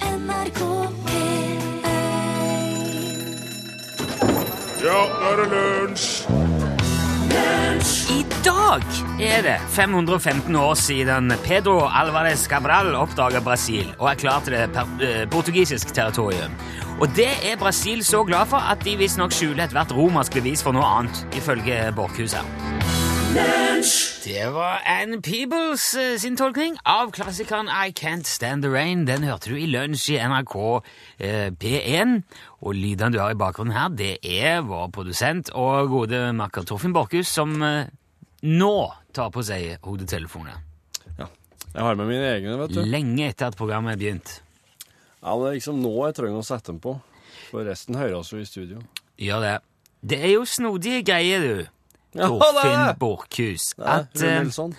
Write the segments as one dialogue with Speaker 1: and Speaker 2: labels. Speaker 1: NRK P1
Speaker 2: Ja, nå er det lunsj!
Speaker 3: I dag er det 515 år siden Pedro Alvarez Cabral oppdaga Brasil og erklærte det per eh, portugisisk territorium. Og det er Brasil så glad for at de visstnok skjuler ethvert romersk bevis for noe annet, ifølge Borchhus her. Det var Ann Peebles eh, sin tolkning av klassikeren I Can't Stand the Rain. Den hørte du i lunsj i NRK eh, P1. Og lydene du har i bakgrunnen her, det er vår produsent og gode makker Torfinn Borchhus, som eh, nå tar på seg hodetelefonene.
Speaker 4: Ja. Jeg har med mine egne, vet du.
Speaker 3: Lenge etter at programmet er begynt.
Speaker 4: Ja, det er liksom nå jeg trenger å sette dem på. For resten hører oss jo i studio.
Speaker 3: Gjør det. Det er jo snodige greier, du.
Speaker 4: Ja, det er
Speaker 3: Torfinn
Speaker 4: det.
Speaker 3: Borchhus.
Speaker 4: Ja,
Speaker 3: At
Speaker 4: Rune
Speaker 3: eh,
Speaker 4: Nilsson.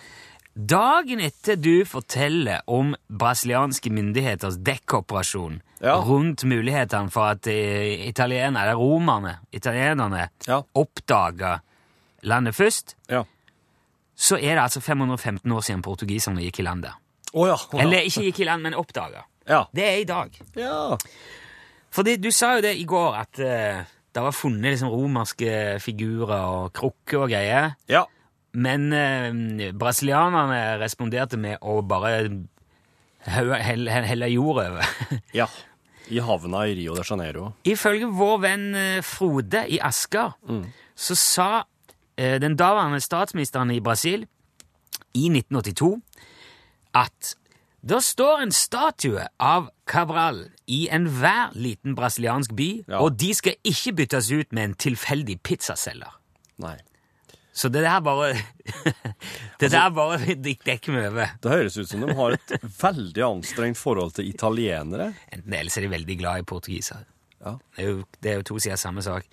Speaker 3: Dagen etter du forteller om brasilianske myndigheters dekkoperasjon
Speaker 4: Ja.
Speaker 3: rundt mulighetene for at eh, italienerne, eller romerne, italienerne,
Speaker 4: Ja.
Speaker 3: oppdaga landet først,
Speaker 4: Ja.
Speaker 3: så er det altså 515 år siden portugiserne gikk i land der.
Speaker 4: Å ja. å ja.
Speaker 3: Eller ikke gikk i land, men oppdaga.
Speaker 4: Ja.
Speaker 3: Det er i dag.
Speaker 4: ja.
Speaker 3: Fordi du sa jo det i går, at eh, det var funnet liksom romerske figurer og krukker og greier.
Speaker 4: Ja.
Speaker 3: Men eh, brasilianerne responderte med å bare helle, helle, helle jord over.
Speaker 4: Ja. I havna i Rio de Janeiro.
Speaker 3: Ifølge vår venn eh, Frode i Asker så sa eh, den daværende statsministeren i Brasil i 1982 at det står en statue av Cabral i enhver liten brasiliansk by,
Speaker 4: Ja.
Speaker 3: og de skal ikke byttes ut med en tilfeldig pizzaselger.
Speaker 4: Nei.
Speaker 3: Så det der bare Det der bare dek- dekker vi over.
Speaker 4: Det høres ut som de har et veldig anstrengt forhold til italienere.
Speaker 3: Enten det, ellers er de veldig glad i portugisere.
Speaker 4: Ja.
Speaker 3: Det er jo, det er jo to sider av samme sak.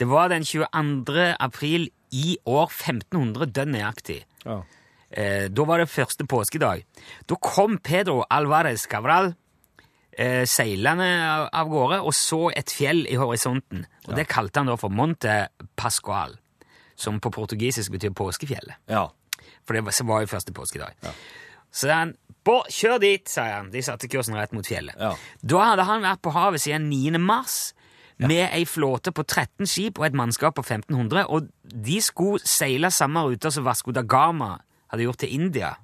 Speaker 3: Det var den 22. april i år 1500, dønn nøyaktig.
Speaker 4: Ja.
Speaker 3: Eh, da var det første påskedag. Da kom Pedro Alvarez Cabral eh, seilende av, av gårde og så et fjell i horisonten. Og Det kalte han da for Monte Pascual, som på portugisisk betyr påskefjellet.
Speaker 4: ja.
Speaker 3: For det var, så var jo første påskedag. Så han på, Kjør dit, sa han. De satte kursen rett mot fjellet.
Speaker 4: Ja.
Speaker 3: Da hadde han vært på havet siden 9. mars med ei flåte på 13 skip og et mannskap på 1500, og de skulle seile samme ruta som Vasco da Gama hadde gjort til India.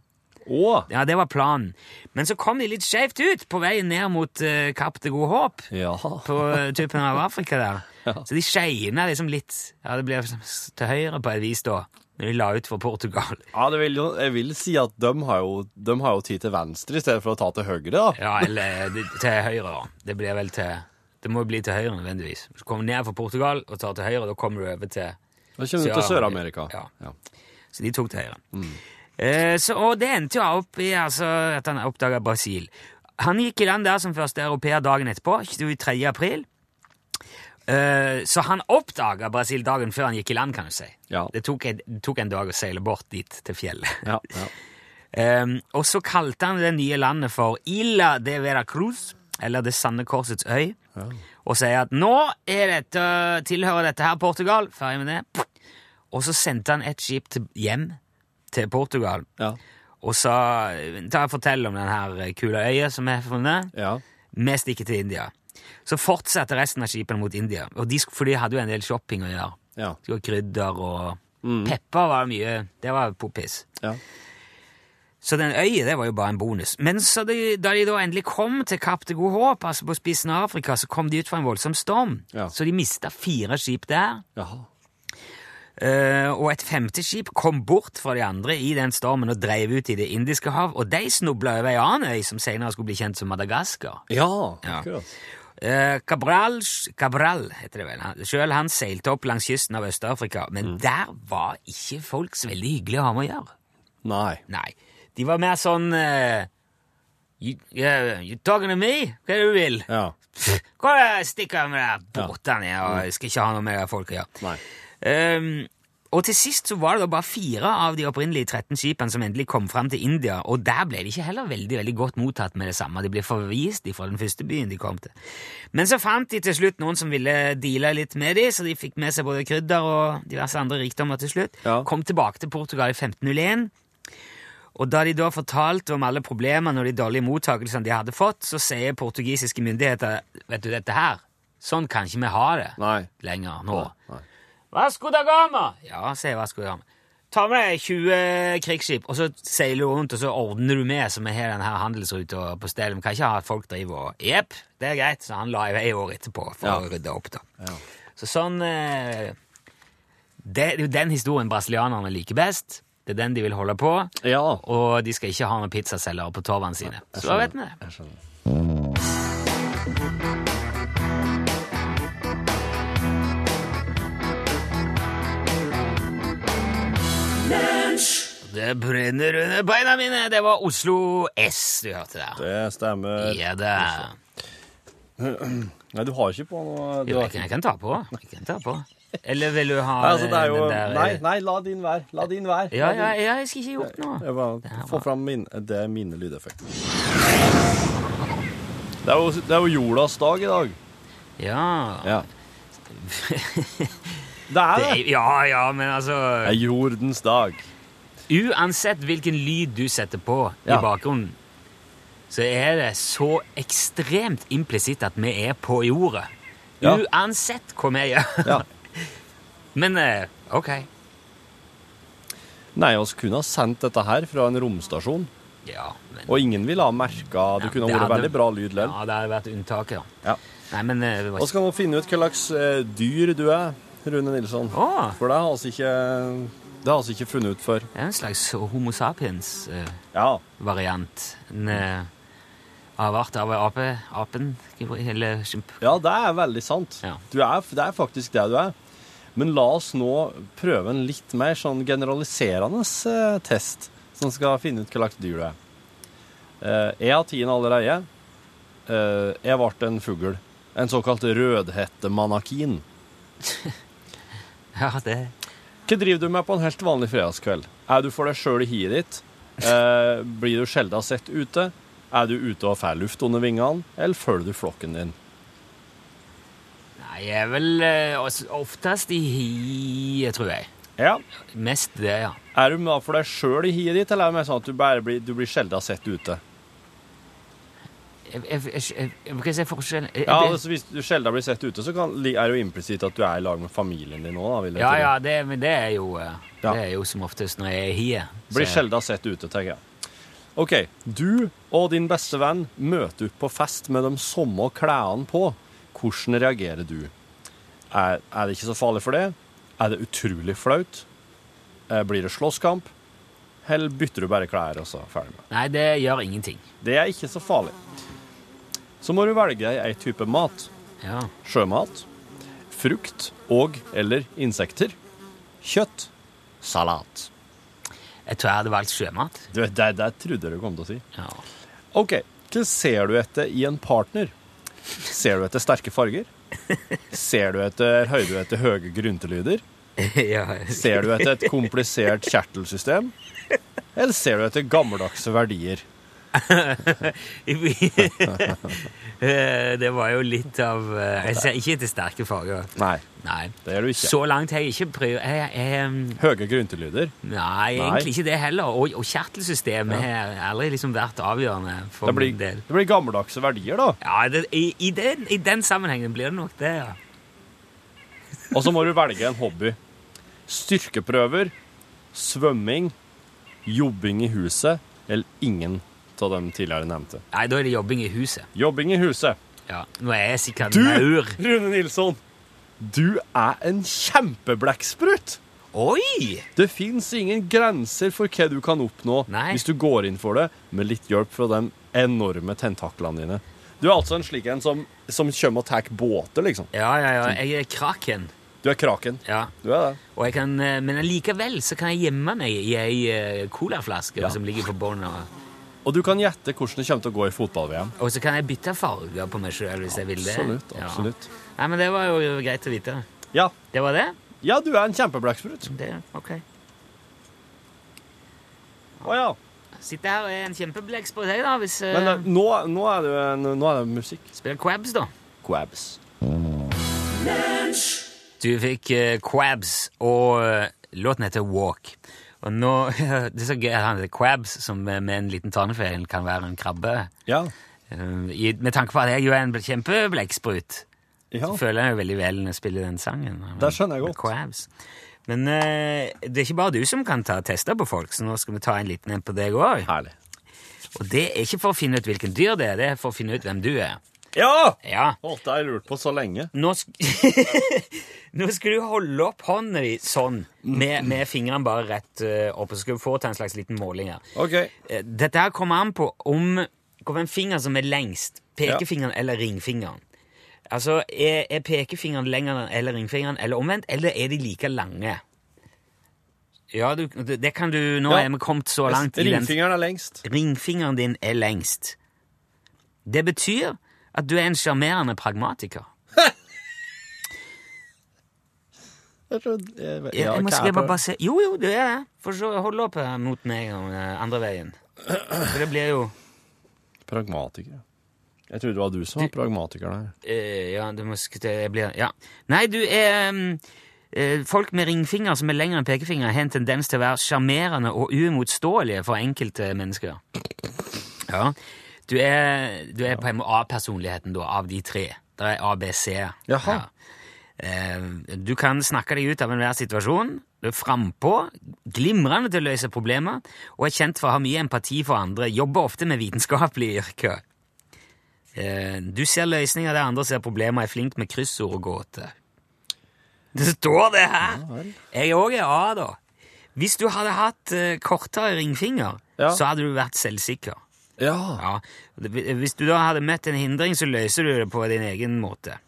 Speaker 4: Å!
Speaker 3: Ja, Det var planen. Men så kom de litt skeivt ut på veien ned mot eh, Kapp det gode håp
Speaker 4: Ja.
Speaker 3: på eh, tuppen av Afrika der. Så de skeina liksom litt ja, Det ble til høyre på et vis da, når de la ut for Portugal.
Speaker 4: ja det vil, jo- jeg vil si at de har, jo, de har jo tid til venstre i stedet for å ta til høyre, da.
Speaker 3: Ja, eller eh, det- til høyre, da. Det blir vel til Det må jo bli til høyre nødvendigvis. Hvis Du kommer ned fra Portugal og tar til høyre, da kommer du over til
Speaker 4: Da kommer du til Sør-Amerika.
Speaker 3: Ja.
Speaker 4: Ja.
Speaker 3: Så de tok til høyre. Eh, så, og det endte jo opp i altså, at han oppdaga Brasil. Han gikk i land der som første europeer dagen etterpå, 23. april. Eh, så han oppdaga Brasil dagen før han gikk i land, kan du si.
Speaker 4: Ja.
Speaker 3: Det tok, en- det tok en dag å seile bort dit, til fjellet.
Speaker 4: Ja. ja.
Speaker 3: Ehm, og så kalte han det nye landet for Illa de Veracruz, eller Det sanne korsets øy, og sier at nå er dette, tilhører dette her Portugal. Ferdig med det. Og så sendte han et skip til, hjem til Portugal
Speaker 4: Ja.
Speaker 3: og sa ta og fortell om den her kula øya som er funnet.
Speaker 4: ja.
Speaker 3: Vi stikker til India. Så fortsatte resten av skipene mot India, og de, sk- for de hadde jo en del shopping å gjøre.
Speaker 4: Ja.
Speaker 3: Det var krydder og Pepper var mye Det var poppis.
Speaker 4: ja.
Speaker 3: Så den øya, det var jo bare en bonus. Men så de, da de da endelig kom til Kapp det gode håp, altså på spissen av Afrika, så kom de ut fra en voldsom storm.
Speaker 4: Ja.
Speaker 3: Så de mista fire skip der,
Speaker 4: Jaha.
Speaker 3: eh, og et femte skip kom bort fra de andre i den stormen og dreiv ut i Det indiske hav, og de snubla over ei annen øy som senere skulle bli kjent som Madagaskar.
Speaker 4: Ja,
Speaker 3: Ja.
Speaker 4: akkurat.
Speaker 3: Eh, Cabral, Cabral heter det vel. Han- Sjøl han seilte opp langs kysten av Øst-Afrika, men der var ikke folk så veldig hyggelige å ha med å gjøre.
Speaker 4: Nei.
Speaker 3: Nei. De var mer sånn eh, you, yeah, you talking to me? Hva er det du vil?
Speaker 4: Ja.
Speaker 3: Gå og stikk av med de der båtene, og jeg skal ikke ha noe med de folk å gjøre.
Speaker 4: Nei.
Speaker 3: Ehm, og til sist så var det da bare fire av de opprinnelige 13 skipene som endelig kom fram til India, og der ble de ikke heller veldig veldig godt mottatt med det samme. De ble forvist fra den første byen de kom til. Men så fant de til slutt noen som ville deale litt med de, så de fikk med seg både krydder og diverse andre rikdommer til slutt.
Speaker 4: Ja.
Speaker 3: Kom tilbake til Portugal i 1501. Og da de da fortalte om alle problemene og de dårlige mottakelsene de hadde fått, så sier portugisiske myndigheter Vet du dette her? Sånn kan ikke vi ha det
Speaker 5: Nei.
Speaker 3: lenger nå.
Speaker 5: Nei.
Speaker 3: Vasco da Gama! Ja, sier Vasco da Gama. Ta med deg 20 krigsskip, og så seiler du rundt, og så ordner du med, så vi har denne handelsruta på stell. Vi kan ikke ha at folk driver og Jepp, det er greit. Så han la i vei året etterpå for
Speaker 5: Ja.
Speaker 3: å rydde opp, da. Så sånn eh, Det det er jo den historien brasilianerne liker best. Det er den de vil holde på.
Speaker 5: Ja.
Speaker 3: Og de skal ikke ha noen pizzaselgere på torvene sine. Så da vet vi det.
Speaker 5: Jeg skjønner.
Speaker 3: Det brenner under beina mine! Det var Oslo S du hørte der.
Speaker 5: Det stemmer.
Speaker 3: Ja da.
Speaker 5: Nei, du har ikke på noe du
Speaker 3: Jo, jeg,
Speaker 5: har ikke.
Speaker 3: kan, jeg kan ta på. Jeg kan ta på. Eller vil du ha eh,
Speaker 5: Nei, altså, det er jo
Speaker 3: den der
Speaker 5: Nei, nei, la din være. La din være.
Speaker 3: Ja,
Speaker 5: La
Speaker 3: ja,
Speaker 5: din-
Speaker 3: ja, jeg skal ikke gjort noe.
Speaker 5: Jeg
Speaker 3: her
Speaker 5: bare
Speaker 3: var-
Speaker 5: få fram min, det er mine lydeffekter. Det er, jo, det er jo jordas dag i dag.
Speaker 3: Ja.
Speaker 5: Ja. Det
Speaker 3: Det
Speaker 5: er det.
Speaker 3: er, ja, ja, men altså
Speaker 5: Det er jordens dag.
Speaker 3: Uansett hvilken lyd du setter på i
Speaker 5: Ja.
Speaker 3: bakgrunnen, så er det så ekstremt implisitt at vi er på jordet.
Speaker 5: Ja.
Speaker 3: Uansett hva vi gjør.
Speaker 5: Ja.
Speaker 3: Men eh, ok.
Speaker 5: Nei, oss kunne ha sendt dette her fra en romstasjon,
Speaker 3: Ja, men,
Speaker 5: og ingen ville ha merka Det
Speaker 3: Ja,
Speaker 5: kunne
Speaker 3: det
Speaker 5: ha vært
Speaker 3: hadde-
Speaker 5: veldig bra lyd lell.
Speaker 3: ja, det hadde vært unntaket. da.
Speaker 5: Ja.
Speaker 3: Nei, men eh, det var
Speaker 5: Vi
Speaker 3: ikke...
Speaker 5: skal nå finne ut hva slags eh, dyr du er, Rune Nilsson.
Speaker 3: Å,
Speaker 5: For det har vi ikke Det har vi ikke funnet ut før.
Speaker 3: det er en slags Homo sapiens-variant.
Speaker 5: Ja.
Speaker 3: en eh, avart av ape, apen, eller skimp.
Speaker 5: Ja, det er veldig sant.
Speaker 3: Ja.
Speaker 5: Du er, det er faktisk det du er. Men la oss nå prøve en litt mer sånn generaliserende eh, test, som skal finne ut hva slags dyr du er. Eh, jeg har tiden allerede. Eh, jeg ble en fugl. En såkalt rødhettemanakin.
Speaker 3: Ja, det...
Speaker 5: Hva driver du med på en helt vanlig fredagskveld? Er du for deg sjøl i hiet ditt? Eh, blir du sjelden sett ute? Er du ute og får luft under vingene, eller følger du flokken din?
Speaker 3: Nei, jeg er vel eh, os- oftest i hiet, tror jeg.
Speaker 5: Ja,
Speaker 3: Mest det, ja.
Speaker 5: Er du med for deg sjøl i hiet ditt, eller er det mer sånn at du, bare blir, du blir sjelden sett ute?
Speaker 3: Jeg, jeg, jeg, jeg, jeg, jeg se forskjellen. Jeg-
Speaker 5: Ja,
Speaker 3: jeg-
Speaker 5: altså Hvis du sjelden blir sett ute, så kan, er det jo implisitt at du er i lag med familien din òg, da. Vil jeg
Speaker 3: ja,
Speaker 5: tro.
Speaker 3: ja, det, men det er jo eh,
Speaker 5: Ja.
Speaker 3: Det er jo som oftest når jeg er i hiet. så-
Speaker 5: Blir sjelden sett ute, tenker jeg. OK. Du og din beste venn møter opp på fest med de samme klærne på. Hvordan reagerer du? Er, er det ikke så farlig for det? Er det utrolig flaut? Eh, Blir det slåsskamp? Eller bytter du bare klær, og så er ferdig med det?
Speaker 3: Nei, det gjør ingenting.
Speaker 5: Det er ikke så farlig. Så må du velge deg ei type mat.
Speaker 3: Ja.
Speaker 5: Sjømat, frukt og eller insekter, kjøtt, salat.
Speaker 3: Jeg tror jeg hadde valgt sjømat.
Speaker 5: Du, det, det trodde jeg du kom til å si.
Speaker 3: Ja.
Speaker 5: OK, hva ser du etter i en partner? Ser du etter sterke farger? Ser du etter, hører du etter høye gryntelyder?
Speaker 3: ja.
Speaker 5: Ser du etter et komplisert kjertelsystem? Eller ser du etter gammeldagse verdier?
Speaker 3: Eh, det var jo litt av eh, Jeg ser ikke etter sterke farger.
Speaker 5: Nei,
Speaker 3: Nei.
Speaker 5: det gjør du ikke.
Speaker 3: Så langt har jeg ikke prøvd jeg, jeg, um,
Speaker 5: Høye gryntelyder.
Speaker 3: Nei, egentlig ikke det heller. Og, og kjertelsystemet har aldri liksom vært avgjørende for
Speaker 5: Det
Speaker 3: min
Speaker 5: blir,
Speaker 3: del.
Speaker 5: det blir gammeldagse verdier, da.
Speaker 3: Ja, det, i, i, den, I den sammenhengen blir det nok det, ja.
Speaker 5: Og så må du velge en hobby. Styrkeprøver, svømming, jobbing i huset eller ingen av dem tidligere nevnte.
Speaker 3: Nei, da er det jobbing i huset.
Speaker 5: Jobbing i huset.
Speaker 3: Ja. Nå er jeg sikkert
Speaker 5: Du,
Speaker 3: maur.
Speaker 5: Rune Nilsson, du er en kjempeblekksprut!
Speaker 3: Oi!
Speaker 5: Det fins ingen grenser for hva du kan oppnå
Speaker 3: Nei.
Speaker 5: hvis du går inn for det med litt hjelp fra de enorme tentaklene dine. Du er altså en slik en som, som kommer og tar båter, liksom.
Speaker 3: Ja, ja, ja. Jeg er kraken.
Speaker 5: Du er kraken.
Speaker 3: Ja.
Speaker 5: Du er det.
Speaker 3: Og jeg kan, eh, men allikevel så kan jeg gjemme meg i ei eh, colaflaske
Speaker 5: Ja.
Speaker 3: som ligger på bånn. Og,
Speaker 5: Og du kan gjette hvordan det kommer til å gå i fotball-VM.
Speaker 3: og så kan jeg bytte farger på meg sjøl hvis jeg vil det.
Speaker 5: Absolutt,
Speaker 3: Ja.
Speaker 5: absolutt.
Speaker 3: Nei, men det var jo greit å vite.
Speaker 5: Ja.
Speaker 3: Det var det?
Speaker 5: ja, du er en kjempeblekksprut.
Speaker 3: Det, ok.
Speaker 5: Å ja.
Speaker 3: Sitter her og er en kjempebleks på deg, da, hvis eh,
Speaker 5: Men eh, nå, nå, er det, nå er det musikk.
Speaker 3: Spiller quabs, da.
Speaker 5: Quabs.
Speaker 3: Du fikk eh, Quabs, og eh, låten heter Walk. Og nå, det er så gøy, han heter Crabs, som med en liten tannefeil kan være en krabbe.
Speaker 4: Ja.
Speaker 3: Eh, i, med tanke på at jeg jo er en bl- kjempeblekksprut,
Speaker 4: ja.
Speaker 3: så føler jeg jo veldig vel når jeg spiller den sangen. eh,
Speaker 4: Det skjønner jeg godt.
Speaker 3: Med Crabs. Men eh, det er ikke bare du som kan ta tester på folk, så nå skal vi ta en liten en på deg òg.
Speaker 4: Herlig.
Speaker 3: Og det er ikke for å finne ut hvilken dyr det er, det er for å finne ut hvem du er.
Speaker 4: Ja!
Speaker 3: Ja,
Speaker 4: Å, det har jeg lurt på så lenge.
Speaker 3: nå, sk nå skal du holde opp hånda di sånn, med, med fingrene bare rett eh, opp, og så skal du få til en slags liten måling her.
Speaker 4: OK.
Speaker 3: Eh, Dette her kommer an på om hvilken finger som er lengst. Pekefingeren eller ringfingeren. Altså, er, er pekefingeren lenger eller ringfingeren, eller omvendt, eller er de like lange? Ja, du, det, det kan du Nå
Speaker 4: Ja.
Speaker 3: er vi kommet så langt i den
Speaker 4: Ringfingeren er lengst.
Speaker 3: Ringfingeren din er lengst. Det betyr at du er en sjarmerende pragmatiker.
Speaker 4: Jeg tror- jeg vet-
Speaker 3: Jeg,
Speaker 4: ja,
Speaker 3: jeg må
Speaker 4: hva er
Speaker 3: skrive
Speaker 4: det?
Speaker 3: bare se Jo, jo, det er det. For så hold opp her mot meg eh, andre veien. For det blir jo
Speaker 4: Pragmatiker. Jeg trodde det var du som var pragmatiker der.
Speaker 3: Eh, ja, det må sk- det blir Ja. Nei, du er mm, eh, Folk med ringfinger som er lengre enn pekefinger, har en tendens til å være sjarmerende og uimotståelige for enkelte mennesker. Ja. Du er, du er på en måte A-personligheten, da, av de tre. Det er A, B, C.
Speaker 4: Jaha.
Speaker 3: Ja. Eh, Du kan snakke deg ut av enhver situasjon. Du er frampå, glimrende til å løse problemer og er kjent for å ha mye empati for andre. Jobber ofte med vitenskapelige yrker. Eh, Du ser løsninger der andre ser problemer, er flink med kryssord og gåter. Det står det her! Jeg òg er A, da. Hvis du hadde hatt eh, kortere ringfinger,
Speaker 4: Ja.
Speaker 3: så hadde du vært selvsikker.
Speaker 4: Ja.
Speaker 3: Ja, Hvis du da hadde møtt en hindring, så løser du det på din egen måte.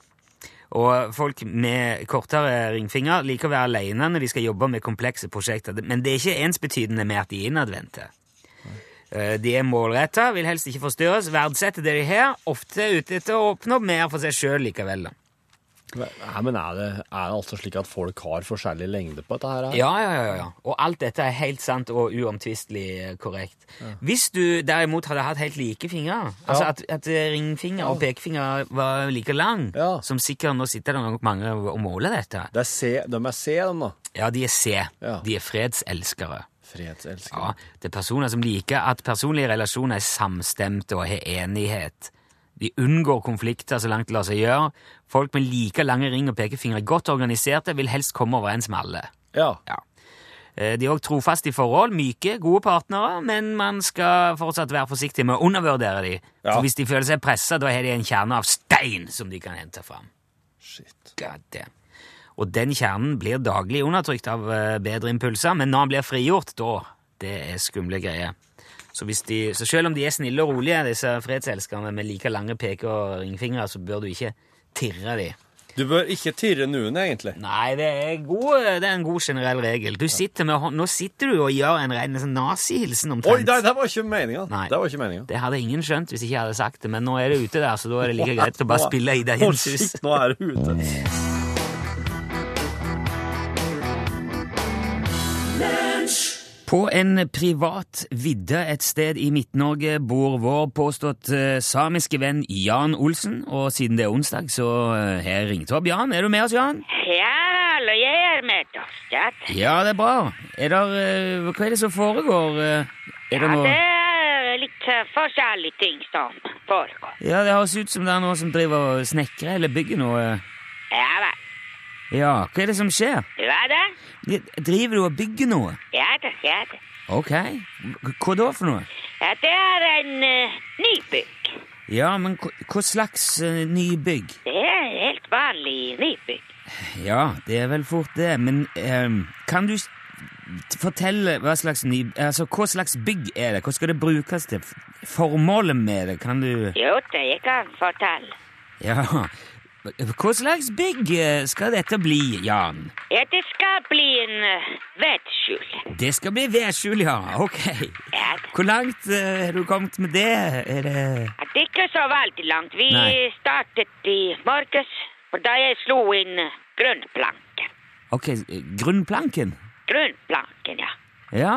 Speaker 3: Og folk med kortere ringfinger liker å være alene når de skal jobbe med komplekse prosjekter, men det er ikke ensbetydende med at de er innadvendte. Eh, De er målretta, vil helst ikke forstyrres, verdsetter det de har, ofte er ute etter å oppnå mer for seg sjøl likevel. da.
Speaker 4: Nei, men er det, er det altså slik at folk har forskjellig lengde på dette her?
Speaker 3: Ja, ja, ja, ja. Og alt dette er helt sant og uomtvistelig eh, korrekt. Hvis du derimot hadde hatt helt like fingre, altså
Speaker 4: Ja.
Speaker 3: at, at eh, ringfinger og pekefinger var like lang,
Speaker 4: Ja.
Speaker 3: som sikkert nå sitter det nok mange og måler dette
Speaker 4: Det er C, de er C, de da.
Speaker 3: Ja, de er C.
Speaker 4: Ja.
Speaker 3: De er fredselskere.
Speaker 4: Fredselskere.
Speaker 3: Ja, det er personer som liker at personlige relasjoner er samstemte og har enighet. De unngår konflikter så langt det lar seg gjøre. Folk med like lange ring og pekefingre, godt organiserte, vil helst komme overens med alle.
Speaker 4: Ja.
Speaker 3: Ja. Eh, De er òg trofaste i forhold, myke, gode partnere, men man skal fortsatt være forsiktig med å undervurdere de.
Speaker 4: Ja.
Speaker 3: For hvis de føler seg pressa, da har de en kjerne av stein som de kan hente fram.
Speaker 4: Shit.
Speaker 3: God damn. Og den kjernen blir daglig undertrykt av eh, bedre impulser, men når han blir frigjort, da Det er skumle greier. Så, hvis de, så selv om de er snille og rolige, disse fredselskerne med like lange peke- og ringfingre, så bør du ikke tirre de.
Speaker 4: Du bør ikke tirre noen, egentlig.
Speaker 3: Nei, det er, god, det er en god generell regel. Du sitter med, hånd- nå sitter du og gjør en ren sånn nazihilsen
Speaker 4: Oi,
Speaker 3: omtrent.
Speaker 4: nei, det var ikke meninga.
Speaker 3: Nei.
Speaker 4: Det var ikke meninga.
Speaker 3: Det hadde ingen skjønt hvis ikke jeg hadde sagt det, men nå er det ute der, så da er det like greit å bare spille i det
Speaker 4: Å,
Speaker 3: hus.
Speaker 4: shit, Nå er det ute.
Speaker 3: På en privat vidde et sted i Midt-Norge bor vår påstått eh, samiske venn Jan Olsen, og siden det er onsdag, så eh, har jeg ringt opp. Jan, er du med oss, Jan?
Speaker 1: Ja, hallo, jeg er med, Torstein.
Speaker 3: Ja, det er bra. Er der, eh, hva er det som foregår? eh? Er det
Speaker 1: Ja,
Speaker 3: noe
Speaker 1: det er litt eh, forskjellige ting som foregår.
Speaker 3: Ja, det høres ut som det er noen som driver og snekrer eller bygger noe. eh,
Speaker 1: Ja vel.
Speaker 3: Ja, hva er det som skjer?
Speaker 1: Hva da?
Speaker 3: De- Driver du og bygger noe?
Speaker 1: Ja da, ja da.
Speaker 3: Ok, hva da for noe?
Speaker 1: Ja, det er en eh, nybygg.
Speaker 3: Ja, men hva hva slags eh, nybygg?
Speaker 1: Det er en helt vanlig nybygg.
Speaker 3: Ja, det er vel fort det, men ehm, kan du s- t- fortelle hva slags, ny, altså, hva slags bygg er det? Hva skal det brukes til? F- Formålet med det, kan du...
Speaker 1: Jo, det jeg kan fortelle.
Speaker 3: Ja, hva slags bygg eh, skal dette bli, Jan?
Speaker 1: Ja, det skal bli en uh, vettskjul.
Speaker 3: Det skal bli vedskjul, ja, ok.
Speaker 1: Ja da.
Speaker 3: Hvor langt eh, har du kommet med det? Er det...
Speaker 1: Ja, Det er ikke så veldig langt. Vi
Speaker 3: Nei.
Speaker 1: startet i morges, og da jeg slo inn eh, grunnplanken.
Speaker 3: Ok, grunnplanken?
Speaker 1: Grunnplanken, ja.
Speaker 3: Ja.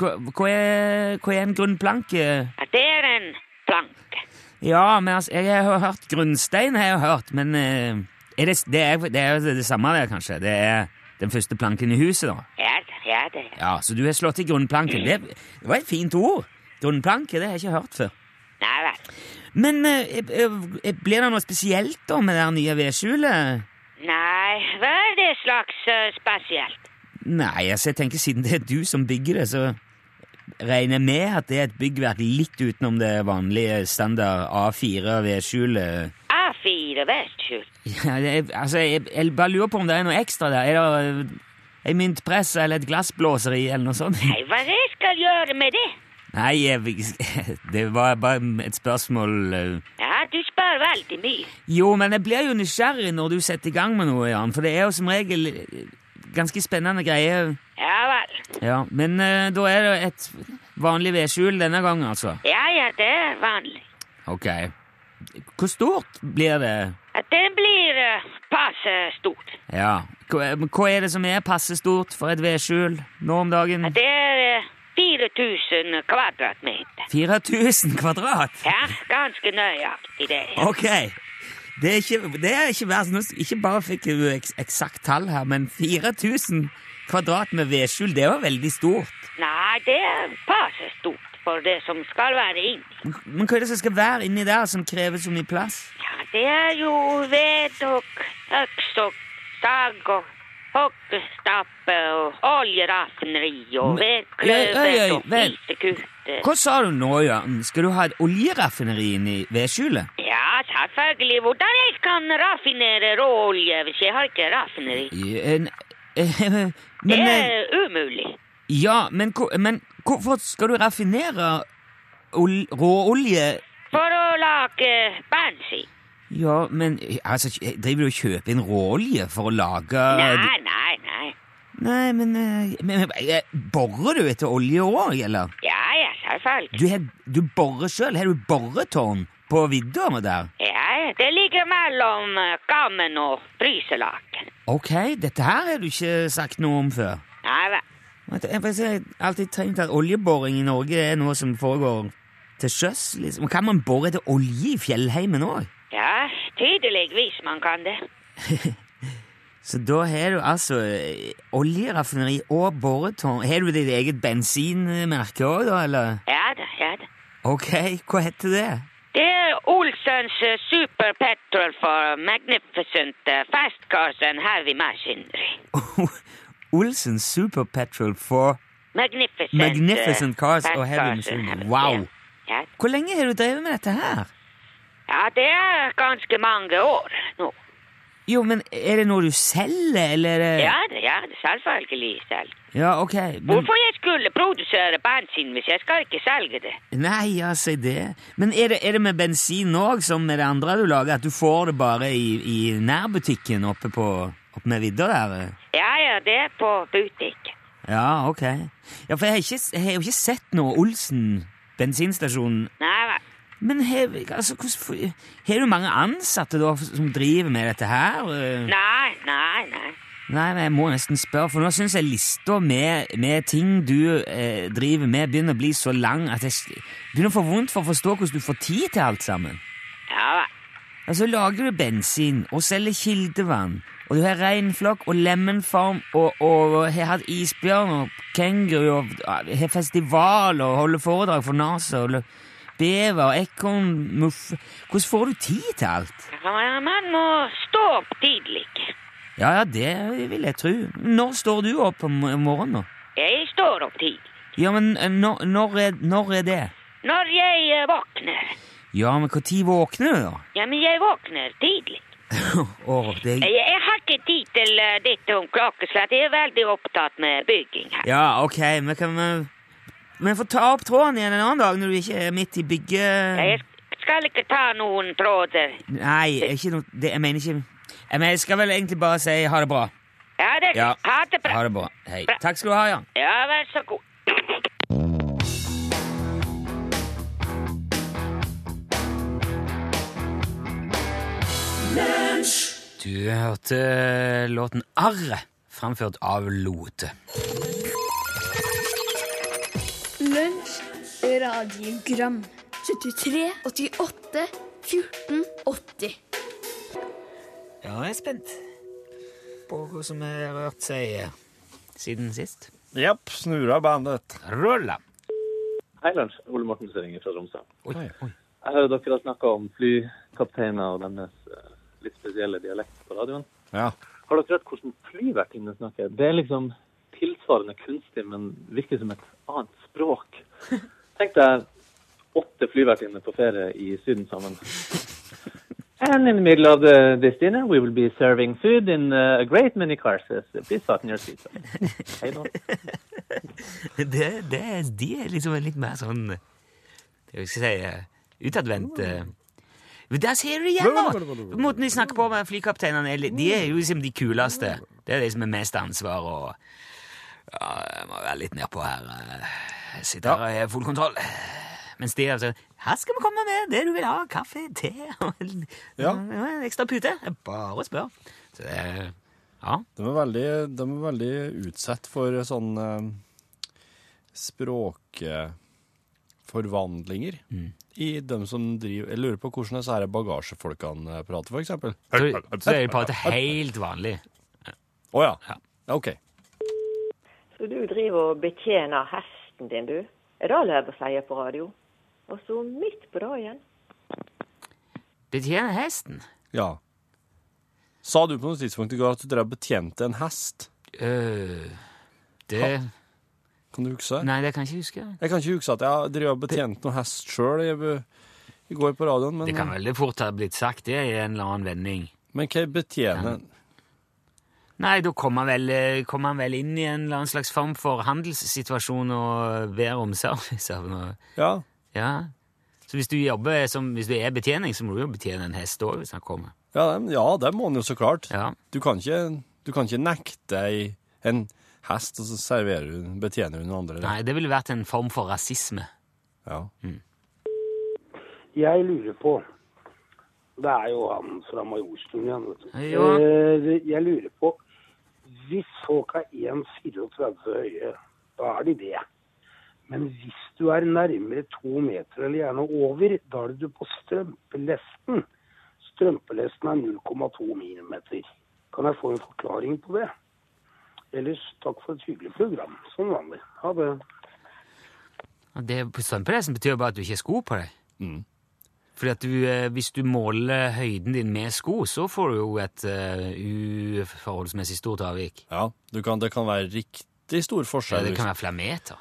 Speaker 3: Hva, hva, er, hva er en grunnplanke?
Speaker 1: Ja, det er en planke.
Speaker 3: Ja, men altså, jeg har hørt grunnstein, har jeg hørt, men eh, er det, det, er, det er jo det samme der, kanskje. Det er den første planken i huset, da.
Speaker 1: Ja, da, Ja, det er
Speaker 3: Ja, Så du har slått i grunnplanken. Det, det var et fint ord. Grunnplanke, det har jeg ikke hørt før.
Speaker 1: Nei vel.
Speaker 3: Men eh, eh, eh, blir det noe spesielt da med det her nye vedskjulet?
Speaker 1: Nei, hva er det slags eh, spesielt?
Speaker 3: Nei, altså, jeg tenker siden det er du som bygger det, så regner jeg med at det er et byggverk litt utenom det vanlige standard A4 vedskjulet.
Speaker 1: A4 Vestskjul.
Speaker 3: Ja, det er, altså, jeg, jeg bare lurer på om det er noe ekstra der. Er det eh, en myntpress eller et glassblåseri eller noe sånt?
Speaker 1: Nei, hva jeg skal gjøre med det?
Speaker 3: Nei, jeg, det var bare et spørsmål eh.
Speaker 1: Ja, du spør veldig mye.
Speaker 3: Jo, men jeg blir jo nysgjerrig når du setter i gang med noe, Jan, for det er jo som regel eh, ganske spennende greier.
Speaker 1: Ja vel.
Speaker 3: Ja, men eh, da er det et vanlig vedskjul denne gangen, altså.
Speaker 1: Ja, ja, det er vanlig.
Speaker 3: Ok. Hvor stort blir det?
Speaker 1: At den blir eh, passe stor.
Speaker 3: Ja. Hva men hva er det som er passe stort for et vedskjul nå om dagen?
Speaker 1: At det er eh, 4000 kvadratmeter.
Speaker 3: 4000 kvadrat?
Speaker 1: Ja, ganske nøyaktig det. ja.
Speaker 3: Ok. Det er ikke, det er ikke verst. Nå s- Ikke bare fikk jeg jo eks- eksakt tall her, men 4000 kvadrat med vedskjul, det var veldig stort.
Speaker 1: Nei, det er passe stort for det som skal være inni.
Speaker 3: Men men hva er det som skal være inni der som krever så mye plass?
Speaker 1: Ja, det er jo ved og øks og sag og hoggstappe og oljeraffineri og
Speaker 3: Men- Oi, oi, oi,
Speaker 1: vedkløver og
Speaker 3: vent.
Speaker 1: flisekutter.
Speaker 3: Hva sa du nå, Jørn? Skal du ha et oljeraffineri inni vedskjulet?
Speaker 1: Ja, selvfølgelig. Hvordan jeg kan raffinere råolje hvis jeg har ikke raffineri?
Speaker 3: Eh, n- eh,
Speaker 1: Det
Speaker 3: Men eh,
Speaker 1: er umulig.
Speaker 3: Ja, men, hvor- men hvorfor skal du raffinere ol råolje?
Speaker 1: For å lage bensin.
Speaker 3: Ja, men eh, altså, kj- driver du og kjøper inn råolje for å lage
Speaker 1: Nei, nei, nei.
Speaker 3: Nei, men, eh, men men, eh, Borer du etter olje òg, eller?
Speaker 1: Ja, ja, selvfølgelig.
Speaker 3: Du, har- du borer sjøl? Har du boretårn på vidda der?
Speaker 1: Ja, ja. Det ligger mellom eh, gammen og fryselaken.
Speaker 3: Ok, dette her har du ikke sagt noe om før.
Speaker 1: Nei vel.
Speaker 3: Vet du, Jeg for jeg har alltid tenkt at oljeboring i Norge er noe som foregår til sjøs. liksom. Kan man bore etter olje i fjellheimen òg?
Speaker 1: Ja, tydeligvis man kan det.
Speaker 3: Så da har du altså eh, oljeraffineri og boretårn. Har du ditt eget bensinmerke òg, da, eller?
Speaker 1: Ja da, ja da.
Speaker 3: Ok, hva heter det?
Speaker 1: Det er Olsens eh, Super Petrol for Magnificent eh, Fast Cars and Heavy Machinery.
Speaker 3: Olsen Super Petrol for
Speaker 1: Magnificent, eh,
Speaker 3: Magnificent Cars
Speaker 1: Fast
Speaker 3: og Heavy
Speaker 1: Cars and
Speaker 3: Machine.
Speaker 1: Heavy-
Speaker 3: Wow!
Speaker 1: Ja. Ja.
Speaker 3: Hvor lenge har du drevet med dette her?
Speaker 1: ja, det er ganske mange år nå.
Speaker 3: Jo, men er det noe du selger, eller? er det-
Speaker 1: Ja, det, ja det, selvfølgelig selv.
Speaker 3: Ja, ok. Men,
Speaker 1: Hvorfor jeg skulle produsere bensin hvis jeg skal ikke selge det?
Speaker 3: nei, ja, si det. Men er det, er det med bensin òg, som med det andre du lager, at du får det bare i, i nærbutikken oppe på oppe med vidda der? eh?
Speaker 1: Ja, ja, det er på butikk.
Speaker 3: Ja, ok. Ja, for jeg har, ikke, jeg har jo ikke sett noe Olsen bensinstasjon.
Speaker 1: Nei vel.
Speaker 3: Men har altså, hvordan- har du mange ansatte da som driver med dette her? eh?
Speaker 1: Nei, nei, nei.
Speaker 3: Nei, men jeg må nesten spørre, for nå syns jeg lista med, med ting du eh, driver med, begynner å bli så lang at jeg s- begynner å få vondt for å forstå hvordan du får tid til alt sammen.
Speaker 1: Ja vel.
Speaker 3: Altså, lager du bensin og selger kildevann, og du har reinflokk og lemenfarm og, og, og har hatt isbjørn og kenguru og ah, har festival og holder foredrag for NASA og lø- bever og ekornmuff Hvordan får du tid til alt?
Speaker 1: Ja, men Man må stå opp tidlig.
Speaker 3: Ja, ja, det vil jeg tro. Når står du opp om om morgenen, da?
Speaker 1: Jeg står opp tidlig.
Speaker 3: Ja, men eh, når, når, er, når er det?
Speaker 1: Når jeg eh, våkner.
Speaker 3: Ja, men når våkner du, da?
Speaker 1: Ja, men jeg våkner tidlig.
Speaker 3: Åh, det
Speaker 1: Jeg, jeg har ikke tid til eh, dette om klokkeslett. Jeg er veldig opptatt med bygging her.
Speaker 3: Ja, ok, men kan vi Men få ta opp tråden igjen en annen dag når du ikke er midt i bygge...
Speaker 1: Jeg sk- skal ikke ta noen tråder.
Speaker 3: Nei, ikke noe det, Jeg mener ikke jeg, mener, jeg skal vel egentlig bare si ha det bra.
Speaker 1: Ja, det,
Speaker 3: Ja.
Speaker 1: ha det bra.
Speaker 3: Ha det bra. Hei. Takk skal du ha, Jan.
Speaker 1: Ja, vær så god.
Speaker 3: Du hørte eh, låten Arre, framført av Lote.
Speaker 6: Lunsj, radiogram 73, 88, 14, 80
Speaker 3: Ja, jeg er spent på hva som har rørt seg eh, siden sist.
Speaker 5: Jepp, snurra bandet.
Speaker 3: Rulla.
Speaker 7: Hei, Lars. Ole Mortensen ringer fra Tromsø.
Speaker 3: Oi, oi.
Speaker 7: Jeg hører dere har snakka om flykapteiner og deres eh, litt spesielle dialekt på radioen.
Speaker 5: Ja.
Speaker 7: Har dere hørt hvordan flyvertinner snakker? Det er liksom tilsvarende kunstig, men virker som et annet språk. Tenk deg åtte flyvertinner på ferie i Syden sammen. And in the middle of the, this dinner, we will be serving food in uh, a great many cars. Please fasten your seatbelt. Hei da.
Speaker 3: Det, det, de er liksom en litt mer sånn Hva skal jeg si Utadvendt. eh. Men Der ser du det igjen, da! Måten de snakker på med flykapteinene, er litt- de er jo liksom de kuleste. Det er de som er mest ansvar og ja, Jeg må være litt nedpå her. eh. Jeg sitter her og har full kontroll. Mens de er sånn Her skal vi komme med det du vil ha. Kaffe, te og en,
Speaker 5: Ja.
Speaker 3: og en ekstra pute. Bare spør. Så det er- Ja.
Speaker 5: De er veldig, de er veldig utsatt for sånn språkforvandlinger
Speaker 3: Mm.
Speaker 5: i dem som driver Jeg lurer på hvordan disse her bagasjefolkene eh, prater, for eksempel.
Speaker 3: Så så er de prater helt vanlig.
Speaker 5: Å ja. Ja, OK.
Speaker 1: Så du driver og betjener hesten din, du. Er det lov å si på radio? Og så midt på dagen.
Speaker 3: Betjener hesten.
Speaker 5: Ja. Sa du på noe tidspunkt i går at du drev og betjente en hest?
Speaker 3: Øh, det
Speaker 5: Kan du huske?
Speaker 3: Nei, det kan jeg ikke huske.
Speaker 5: Jeg kan ikke huske at jeg drev og betjente noen hest sjøl i, i går på radioen,
Speaker 3: Det kan
Speaker 5: men,
Speaker 3: veldig fort ha blitt sagt, det, i en eller annen vending.
Speaker 5: men hva betjener
Speaker 3: Nei, da kommer han, vel, eh, kommer han vel inn i en eller annen slags form for handelssituasjon og ber om service av noe.
Speaker 5: Ja.
Speaker 3: Ja. Så hvis du jobber som, hvis du er betjening, så må du jo betjene en hest òg, hvis han kommer.
Speaker 5: Ja, det ja, det må han jo så klart.
Speaker 3: Ja.
Speaker 5: Du kan ikke, du kan ikke nekte ei- en hest, og så serverer hun, betjener hun andre.
Speaker 3: Nei, det ville vært en form for rasisme.
Speaker 5: Ja.
Speaker 8: Jeg lurer på Det er jo han fra Majorstuen igjen, vet du.
Speaker 3: Ja.
Speaker 8: Eh, Jeg lurer på Hvis folk er 1,34 høye, da er de det. Men hvis du er nærmere to meter eller gjerne over, da er du på strømpelesten. Strømpelesten er 0,2 millimeter. Kan jeg få en forklaring på det? Ellers takk for et hyggelig program, som vanlig. Ha det.
Speaker 3: Og Det på strømpelesen betyr jo bare at du ikke har sko på deg. Fordi at du, eh, hvis du måler høyden din med sko, så får du jo et eh, uforholdsmessig stort avvik.
Speaker 5: ja. Du kan, det kan være riktig stor
Speaker 3: Ja,
Speaker 5: forskjell.
Speaker 3: det kan være flere meter.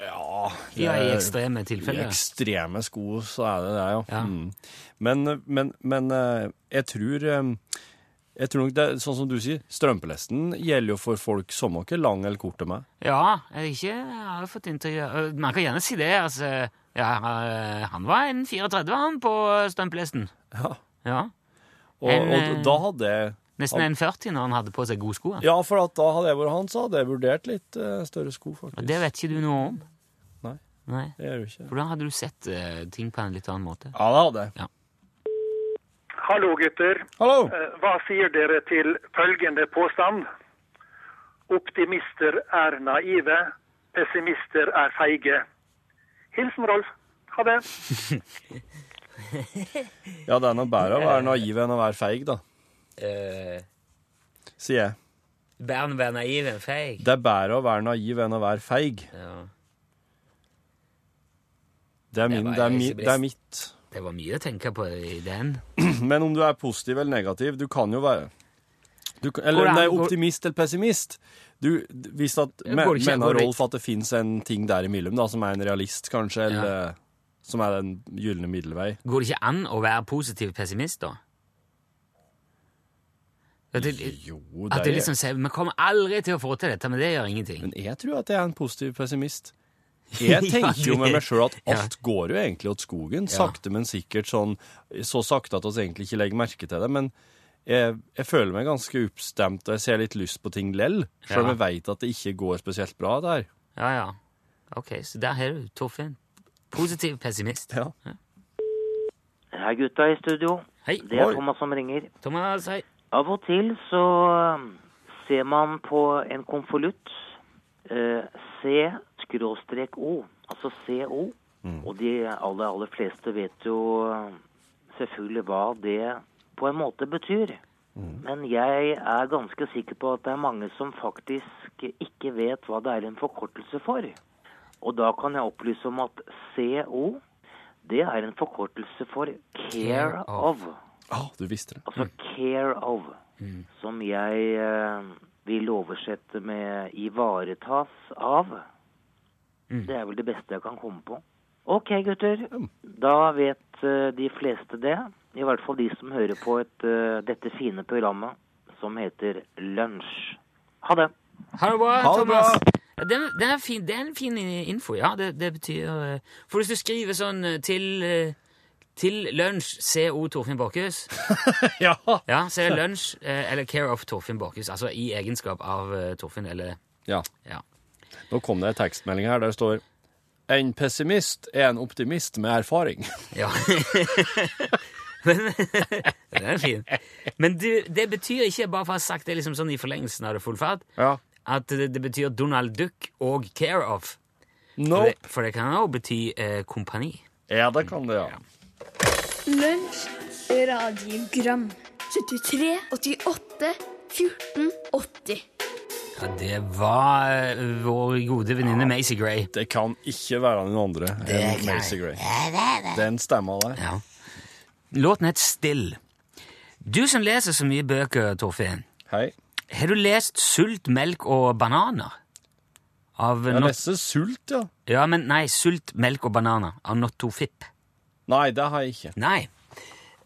Speaker 5: Ja, det-
Speaker 3: Ja, i ekstreme
Speaker 5: I
Speaker 3: tilfeller.
Speaker 5: ekstreme sko så er det det, ja.
Speaker 3: Ja.
Speaker 5: Mm. Men, men, men eh, jeg tror eh, jeg tror nok det, er Sånn som du sier, strømpelesten gjelder jo for folk som ikke er lang eller kort til meg.
Speaker 3: Ja, jeg har ikke jeg har jo fått inntrykk av- Man kan gjerne si det. altså. Ja, eh, han var en 34, han, på strømpelesten.
Speaker 5: Ja.
Speaker 3: Ja.
Speaker 5: Og,
Speaker 3: En, eh,
Speaker 5: og da hadde jeg
Speaker 3: Nesten en 40 når han hadde på seg gode sko.
Speaker 5: Ja, for at da hadde jeg vært han, så hadde jeg vurdert litt eh, større sko, faktisk.
Speaker 3: Og det vet ikke du noe om.
Speaker 5: Nei.
Speaker 3: Nei.
Speaker 5: Det gjør jo ikke
Speaker 3: For da hadde du sett eh, ting på en litt annen måte.
Speaker 5: Ja, det hadde jeg.
Speaker 9: Hallo, gutter.
Speaker 5: Hallo!
Speaker 9: Eh, Hva sier dere til følgende påstand? Optimister er naive, pessimister er feige. Hilsen Rolf. Ha det.
Speaker 5: Ja, det er noe bedre å
Speaker 3: Eh.
Speaker 5: være naiv enn å være feig, da,
Speaker 3: Uh,
Speaker 5: sier jeg.
Speaker 3: Bæren være naiv enn feig.
Speaker 5: Det er bedre å være naiv enn å være feig.
Speaker 3: Ja.
Speaker 5: Det er,
Speaker 3: Det er
Speaker 5: min,
Speaker 3: bare
Speaker 5: det er, mi,
Speaker 3: ikke best.
Speaker 5: det er mitt.
Speaker 3: Det var mye å tenke på i den.
Speaker 5: Men om du er positiv eller negativ, du kan jo være du, kan- Eller
Speaker 3: Går det
Speaker 5: om du
Speaker 3: an-
Speaker 5: er
Speaker 3: går-
Speaker 5: optimist eller pessimist du, d- Hvis at me,
Speaker 3: går det ikke- går
Speaker 5: mener
Speaker 3: det-
Speaker 5: Rolf at det fins en ting der imellom, da, som er en realist, kanskje, eller som er den gylne middelvei.
Speaker 3: Går det ikke an å være positiv pessimist, da? At det,
Speaker 5: Jo,
Speaker 3: at
Speaker 5: det
Speaker 3: det
Speaker 5: er
Speaker 3: liksom sier Vi kommer aldri til å få til dette, men det gjør ingenting.
Speaker 5: Men jeg tror at jeg er en positiv pessimist. Jeg tenker jo med meg sjøl at alt går jo egentlig åt skogen. Sakte, men sikkert. sånn, Så sakte at vi egentlig ikke legger merke til det. Men jeg, jeg føler meg ganske oppstemt, og jeg ser litt lyst på ting lell. Sjøl om
Speaker 3: Ja.
Speaker 5: jeg veit at det ikke går spesielt bra der.
Speaker 3: Ja, ja. Ok, så der har du Torfinn. Positiv pessimist.
Speaker 5: Ja.
Speaker 10: Hei, gutta i studio.
Speaker 3: Hei,
Speaker 10: Det er
Speaker 5: Oi.
Speaker 10: Thomas som ringer.
Speaker 3: Thomas. Hei.
Speaker 10: Av og til så
Speaker 7: um,
Speaker 10: øhm, ser man på en konvolutt eh, C-O, altså CO.
Speaker 7: Mm.
Speaker 10: Og de aller,
Speaker 7: um,
Speaker 10: aller fleste vet jo øhm, selvfølgelig hva det på en måte betyr.
Speaker 7: Men jeg er ganske sikker på at det er mange som faktisk ikke vet hva det er en forkortelse for. Og da kan jeg opplyse om at CO, det er en forkortelse for care of.
Speaker 4: Ja, du visste det.
Speaker 5: Mm.
Speaker 7: Altså care of, som jeg eh, vil oversette med ivaretas av. Det er vel det beste jeg kan komme på. Ok, gutter. Da vet eh, de fleste det. I hvert fall de som hører på et, eh, dette fine programmet som heter Lunsj. Ha det.
Speaker 3: Ha det bra,
Speaker 7: Ha det bra.
Speaker 3: Thomas. Ja, den, den er fin, det er en fin info, ja. Det, det betyr eh, For hvis du skriver sånn eh, til eh, til lunsj CO Torfinn Borchhus.
Speaker 4: ja.
Speaker 3: Så er det lunsj eh, eller care of Torfinn Borchhus. Altså i egenskap av eh, Torfinn eller
Speaker 4: Ja.
Speaker 3: Ja.
Speaker 4: Nå kom det en tekstmelding her der det står En pessimist er en optimist med erfaring.
Speaker 3: Ja. Men, den er fin. Men du, det betyr ikke, bare for å ha sagt det liksom sånn i forlengelsen av det full fart, at det, det betyr Donald Duck og Care of. For, det, for det kan også bety eh, kompani.
Speaker 4: Ja, det kan det, ja.
Speaker 6: Lunsj, radiogram 73 88 14 80
Speaker 3: Ja, det var eh, vår gode venninne Macy Gray.
Speaker 4: Det kan ikke være noen andre enn Macy Gray. Den stemma der.
Speaker 3: Ja. Låten het Still. Du som leser så mye bøker, Torfinn.
Speaker 4: Hei.
Speaker 3: Har du lest Sult, melk og bananer? Av
Speaker 4: Jeg
Speaker 3: Not-
Speaker 4: leser Sult, ja.
Speaker 3: Ja, men nei, Sult, melk og bananer av Notto Fipp.
Speaker 4: Nei, det har jeg ikke.
Speaker 3: Nei.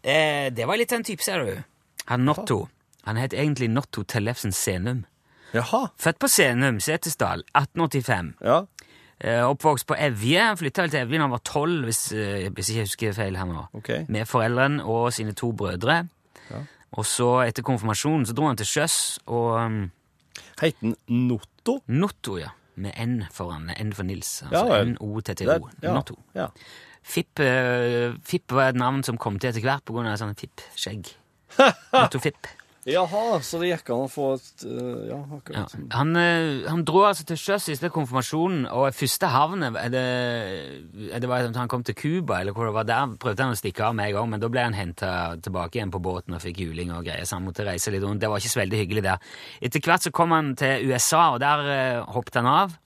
Speaker 3: Eh, det var litt den type, ser du. Han Notto. Han het egentlig Notto Tellefsen Senum.
Speaker 4: Jaha.
Speaker 3: Født på Senum, Setesdal, 1885.
Speaker 4: Ja.
Speaker 3: Eh, oppvokst på Evje. Flytta vel til Evje da han var tolv, hvis, eh, hvis ikke jeg husker feil her nå.
Speaker 4: Ok.
Speaker 3: Med foreldrene og sine to brødre. Og så, etter konfirmasjonen, så dro han til sjøs og um,
Speaker 4: Het han Notto?
Speaker 3: Notto, ja. Med N foran. N for Nils. Altså
Speaker 4: Ja, vel.
Speaker 3: N-O-T-T-O.
Speaker 4: Det- ja,
Speaker 3: Notto.
Speaker 4: ja.
Speaker 3: Fipp, eh, Fipp var et navn som kom til etter hvert på grunn av sånn Fipp-skjegg. Notto Fipp.
Speaker 4: Jaha, så det gikk an å få et øh, Ja,
Speaker 3: Ja.
Speaker 4: akkurat.
Speaker 3: Han, eh, han dro altså til sjøs etter konfirmasjonen, og første havnet er det, er det var, at Han kom til Cuba, eller hvor det var der prøvde han å stikke av med en gang, men da ble han henta tilbake igjen på båten og fikk juling og greier, så han måtte reise litt rundt. Det var ikke så veldig hyggelig der. Etter hvert så kom han til USA, og der eh, hoppet han av.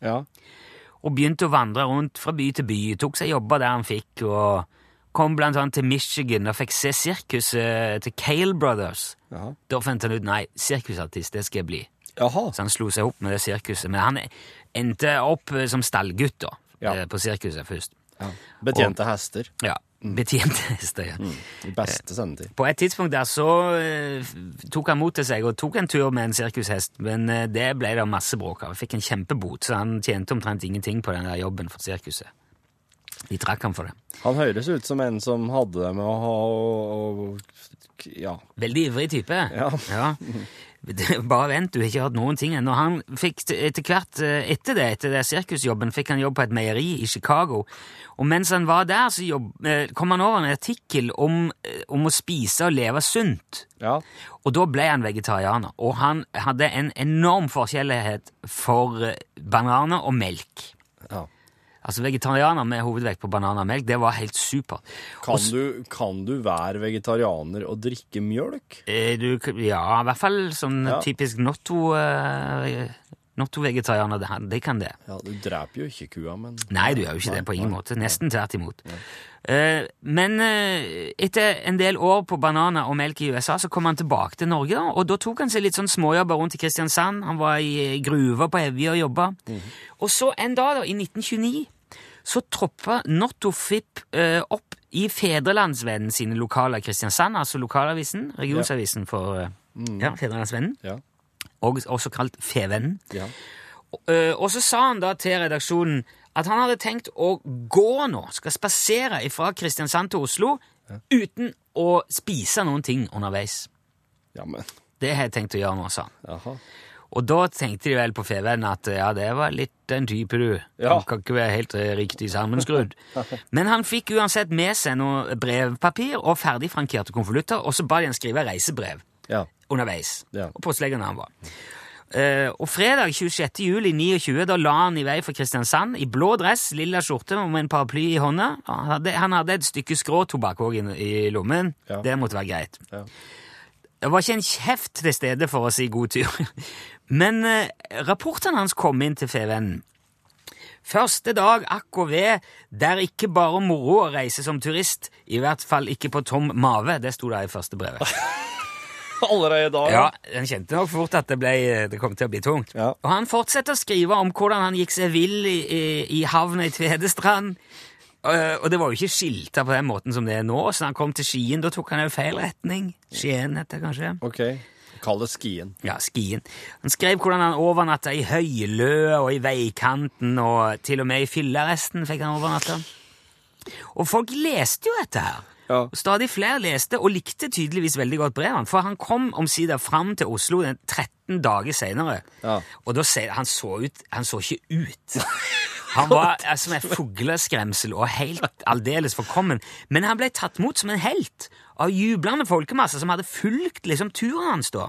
Speaker 3: Og begynte å vandre rundt fra by til by, tok seg jobber der han fikk, og kom blant annet til Michigan og fikk se sirkuset til Cale Brothers.
Speaker 4: Jaha.
Speaker 3: Da fant han ut nei, sirkusartist det skal jeg bli.
Speaker 4: Jaha.
Speaker 3: Så han slo seg opp med det sirkuset. Men han endte opp eh, som stallgutt da, eh, på sirkuset først.
Speaker 4: Betjente hester.
Speaker 3: Ja, betjente hester. ja.
Speaker 5: Mm.
Speaker 4: I beste sendetid.
Speaker 3: På et tidspunkt der så eh, f- tok han mot til seg og tok en tur med en sirkushest, men eh, det ble det masse bråk av. Fikk en kjempebot, så han tjente omtrent ingenting på den der jobben for sirkuset. De trakk han for det.
Speaker 4: Han høres ut som en som hadde det med å ha og, og, Ja.
Speaker 3: Veldig ivrig type. Ja. Bare vent, du har ikke hørt noen ting ennå. Han fikk t- etter hvert, eh, etter det, etter det sirkusjobben, fikk han jobb på et meieri i Chicago. Og mens han var der, så jobb, eh, kom han over en artikkel om, eh, om å spise og leve sunt. Og da ble han vegetarianer. Og han hadde en enorm forskjellighet for eh, bananer og melk. Altså vegetarianer med hovedvekt på bananer og melk, det var helt supert. Og
Speaker 4: Kan
Speaker 3: s-
Speaker 4: du, kan du være vegetarianer og drikke mjølk?
Speaker 3: Eh, Du, k- ja, i hvert fall sånn
Speaker 4: Ja.
Speaker 3: typisk notto... eh, Notto-vegetarianer, det, det kan det.
Speaker 4: Ja, Du dreper jo ikke kua, men
Speaker 3: Nei, du gjør jo ikke det på ingen måte. Nesten tvert imot. Eh, Men eh, etter en del år på bananer og melk i USA, så kom han tilbake til Norge, da, og da tok han seg litt sånn småjobber rundt i Kristiansand. Han var i eh, gruver på Evje og jobba. Og så en dag, da, i 1929, så troppa Notto Fipp eh, opp i Fedrelandsvennen sine lokaler i Kristiansand, altså lokalavisen, regionsavisen for eh, ja, Fedrelandsvennen,
Speaker 4: Ja.
Speaker 3: og, også kalt Fevennen.
Speaker 4: Ja.
Speaker 3: Eh, og så sa han da til redaksjonen at han hadde tenkt å gå nå, skal spasere fra Kristiansand til Oslo, uten å spise noen ting underveis. Det har jeg tenkt å gjøre nå, sa han.
Speaker 4: Jaha.
Speaker 3: Og da tenkte de vel på Feven at ja, det var litt den type du.
Speaker 4: Ja.
Speaker 3: Han kan ikke være helt eh, riktig sammenskrudd. Men han fikk uansett med seg noe brevpapir og ferdig frankerte konvolutter, og så ba de han skrive reisebrev
Speaker 4: Ja.
Speaker 3: underveis.
Speaker 4: Ja.
Speaker 3: Og postlegen han var. Eh, og fredag 26. juli 29, da la han i vei for Kristiansand i blå dress, lilla skjorte og med en paraply i hånda. Og Han hadde, han hadde et stykke skråtobakk òg i, i lommen.
Speaker 4: Ja.
Speaker 3: Det måtte være greit. Det var ikke en kjeft til stede for å si god tur. Men eh, rapportene hans kom inn til FVN. Første dag akk og ved, der ikke bare moro å reise som turist, i hvert fall ikke på tom mave, det sto det i første brevet.
Speaker 4: Allerede da?
Speaker 3: Ja, den kjente nok fort at det, ble, det kom til å bli tungt. Og han fortsetter å skrive om hvordan han gikk seg vill i, i, i havna i Tvedestrand. Eh, og det var jo ikke skilta på den måten som det er nå, så da han kom til Skien, da tok han jo feil retning. Skien heter det kanskje.
Speaker 4: Ok, kall det Skien.
Speaker 3: Ja, Skien. Han skrev hvordan han overnatta i høyløa og i veikanten, og til og med i fylleresten fikk han overnatta. Og folk leste jo dette her. Og Stadig flere leste og likte tydeligvis veldig godt brevene, for han kom omsider fram til Oslo den 13 dager senere. Og da se, han så ut, han så ikke ut. Han var eh, som en fugleskremsel og helt aldeles forkommen. Men han ble tatt mot som en helt av jublende folkemasser som hadde fulgt liksom, turen hans. da.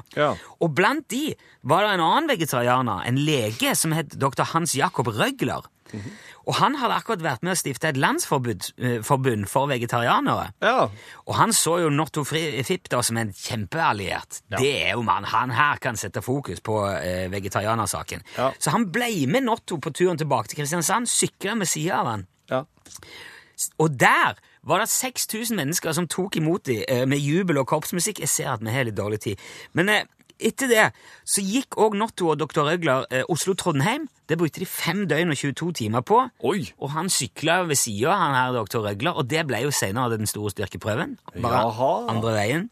Speaker 3: Og blant de var det en annen vegetarianer, en lege som het dr. Hans Jakob Røgler. Og han hadde akkurat vært med å stifte et landsforbund eh, forbund for vegetarianere. Og han så jo Notto Fri- Fipp da som en kjempealliert. Det er jo mann, han her kan sette fokus på eh, vegetarianersaken. Så han ble med Notto på turen tilbake til Kristiansand, sykla med sida av han. S- Og der var det 6000 mennesker som tok imot dem med jubel og korpsmusikk. Jeg ser at vi har litt dårlig tid. Men eh, etter det så gikk òg Notto og Dr. Røgler eh, Oslo-Trondheim. Det brukte de fem døgn og 22 timer på. Og han sykla ved sida, han her Dr. Røgler, og det ble jo senere den store styrkeprøven. Bare
Speaker 4: Jaha.
Speaker 3: andre veien.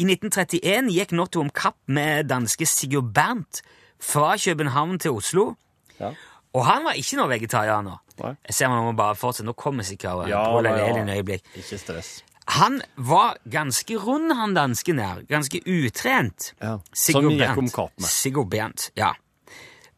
Speaker 3: I 1931 gikk Notto om kapp med danske Sigurd Bernt fra København til Oslo. Og han var ikke noe vegetarianer. Jeg ser man må bare fortsette. Nå kommer sikkert eh,
Speaker 4: Ja,
Speaker 3: Paul
Speaker 4: ja, ja.
Speaker 3: Elin øyeblikk.
Speaker 4: Ikke stress.
Speaker 3: Han var ganske rund, han dansken her. Ganske utrent. Sigurd
Speaker 4: Som gikk
Speaker 3: Bernt.
Speaker 4: om kapp med.
Speaker 3: Sigurd Bernt, ja.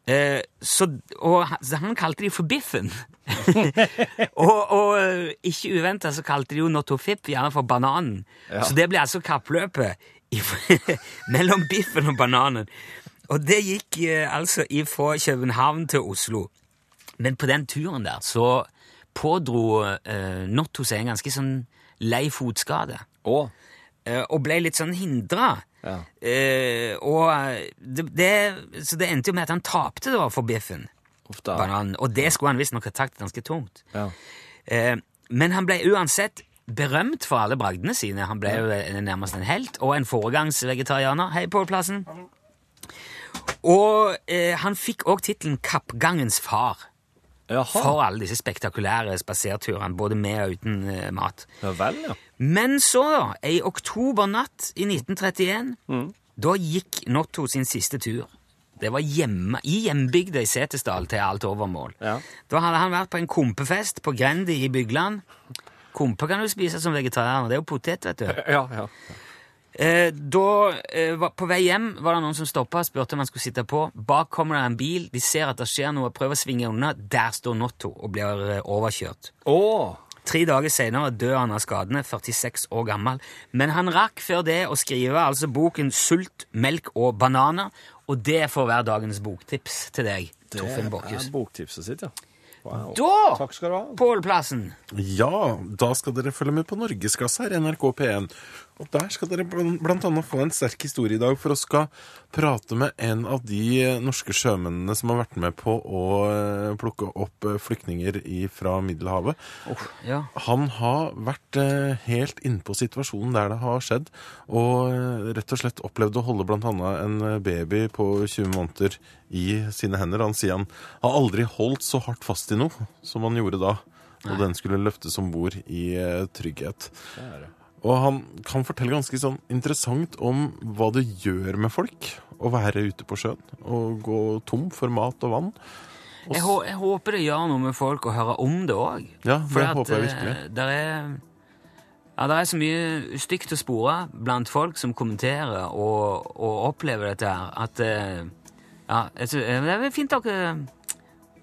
Speaker 3: Eh, så, og han- så han kalte de for Biffen. og, og eh, ikke uventa så kalte de jo Notofipp gjerne for Bananen.
Speaker 5: Ja.
Speaker 3: Så det ble altså kappløpet i- mellom Biffen og Bananen. Og det gikk eh, altså ifra København til Oslo. Men på den turen der så pådro eh, Notto seg en ganske sånn lei fotskade. Eh, og ble litt sånn hindra. Eh, og det, det, så det endte jo med at han tapte da for biffen. Banan. Og det skulle han visstnok ha tatt ganske tungt. Eh, men han ble uansett berømt for alle bragdene sine. Han ble jo eh, nærmest en helt, og en foregangsvegetarianer. Hei, Pål Plassen. Og eh, han fikk òg tittelen Kappgangens far. For alle disse spektakulære spaserturene, både med og uten eh, mat. Men så, da, ei oktobernatt i 1931, da gikk Notto sin siste tur. Det var hjemme, i hjembygda i Setesdal til alt overmål. Da hadde han vært på en kompefest på Grendi i Bygland. Kompe kan du spise som vegetarianer. Det er jo potet, vet du. Eh, da, eh, var- på vei hjem var det noen som stoppa og spurte om han skulle sitte på. Bak kommer det en bil, de ser at det skjer noe, prøver å svinge unna. Der står Notto og blir eh, overkjørt. Tre dager senere dør han av skadene, 46 år gammel. Men han rakk før det å skrive altså boken Sult, melk og bananer, og det får være dagens boktips til deg,
Speaker 4: Det
Speaker 3: Torfinn Borchhus.
Speaker 4: er boktipset sitt, ja. Wow.
Speaker 3: Da, Pål Plassen,
Speaker 11: Ja, da skal dere følge med på Norgesklasse her, NRK P1. Og der skal dere bl- blant annet få en sterk historie i dag, for vi skal prate med en av de eh, norske sjømennene som har vært med på å eh, plukke opp eh, flyktninger i- fra Middelhavet.
Speaker 3: ja.
Speaker 11: Han har vært eh, helt innpå situasjonen der det har skjedd, og eh, rett og slett opplevd å holde blant annet en eh, baby på 20 måneder i sine hender. Han sier han har aldri holdt så hardt fast i noe som han gjorde da, og den skulle løftes om bord i eh, trygghet. Og han kan fortelle ganske sånn interessant om hva det gjør med folk å være ute på sjøen og gå tom for mat og vann. Og
Speaker 3: jeg,
Speaker 11: s-
Speaker 3: hå jeg håper det gjør noe med folk å høre om det òg.
Speaker 11: Ja, for det håper jeg virkelig.
Speaker 3: Det eh, er, ja, der er så mye stygt å spore blant folk som kommenterer og, og opplever dette her, at eh, ja, jeg sy- eh, Det er vel fint dere eh,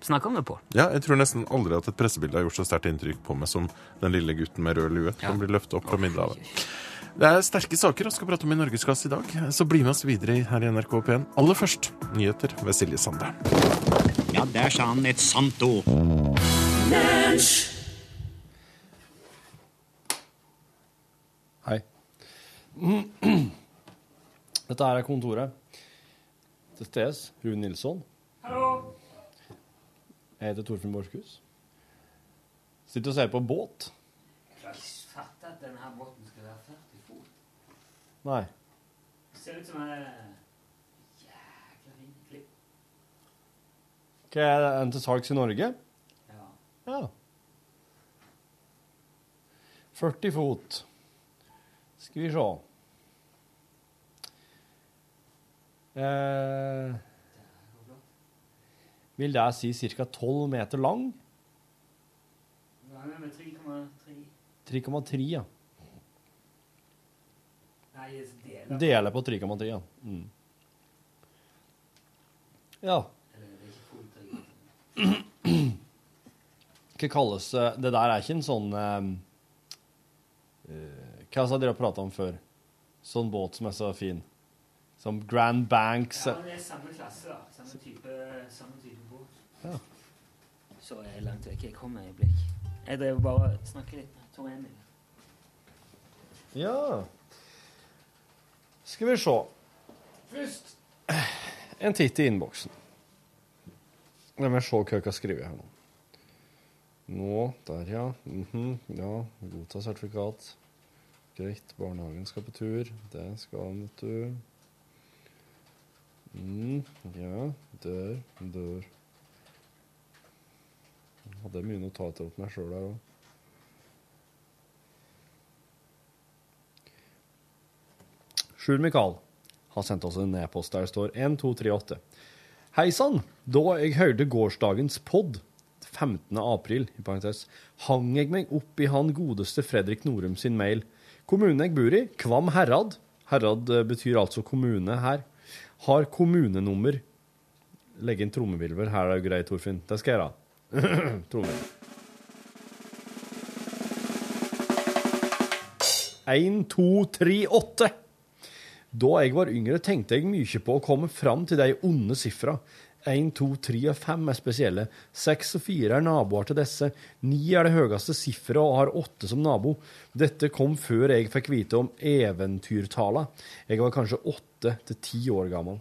Speaker 3: snakker om det på.
Speaker 11: Ja, jeg tror nesten aldri at et pressebilde har gjort så sterkt inntrykk på meg som den lille gutten med rød lue som blir løftet opp fra Middelhavet. Det er sterke saker vi skal prate om i Norgesklasse i dag, så bli med oss videre her i NRK P1. Aller først nyheter ved Silje Sande.
Speaker 12: Ja, der sa han et sant ord.
Speaker 4: Hei.
Speaker 5: Dette her er kontoret til Stes, Rune Nilsson.
Speaker 13: Hallo.
Speaker 5: Jeg heter Torfinn Borchhus. Sitter og ser på båt.
Speaker 3: fatter at denne her båten skal være 40 fot.
Speaker 5: Nei.
Speaker 3: Ser ut som en eh, jækla fin klipp.
Speaker 5: Hva er det, en til salgs i Norge? Ja. 40 fot. Skal vi se. Eh, vil det si ca. 12 meter lang?
Speaker 3: Ganger med 3,3
Speaker 5: 3,3, ja.
Speaker 3: Nei, deler.
Speaker 5: Dele på 3,3, ja. Mm. Ja. Hva kalles eh, Det der er ikke en sånn eh, eh, Hva sa dere prata om før? Sånn båt som er så fin. Som Grand Banks
Speaker 3: Ja, det er samme klasse, da. Samme type, samme type båt.
Speaker 5: Ja.
Speaker 3: Så er jeg langt vekk. Jeg kommer i blikk. Jeg drev bare og snakket litt med Tor Emil.
Speaker 5: Ja. Skal vi se.
Speaker 3: Først
Speaker 5: En titt i innboksen. La meg se hva jeg har skrevet her nå. Nå, der ja. Mhm, Ja, godta sertifikat. Greit, barnehagen skal på tur. Det skal han, vet du. Mm, ja, dør, dør. Jeg Hadde mye notater opp meg sjøl her òg. Sjur Mikael har sendt oss en e-post der det står 1238. Hei sann! Da jeg hørte gårsdagens pod, 15. april, i parentes, hang jeg meg opp i han godeste Fredrik Norum sin mail. Kommunen jeg bor i, Kvam Herad Herad eh, betyr altså kommune her. Har kommunenummer Legg inn trommevilver. Her er det greit, Torfinn. Det skal jeg gjøre. Trommer. 1, 2, 3, 8. Da jeg var yngre, tenkte jeg mye på å komme fram til de onde siffra. 1, 2, 3 og 5 er spesielle. 6 og 4 er naboer til disse. 9 er det høyeste sifferet og har 8 som nabo. Dette kom før jeg fikk vite om eventyrtala. Jeg var kanskje 8 til 10 år gammel.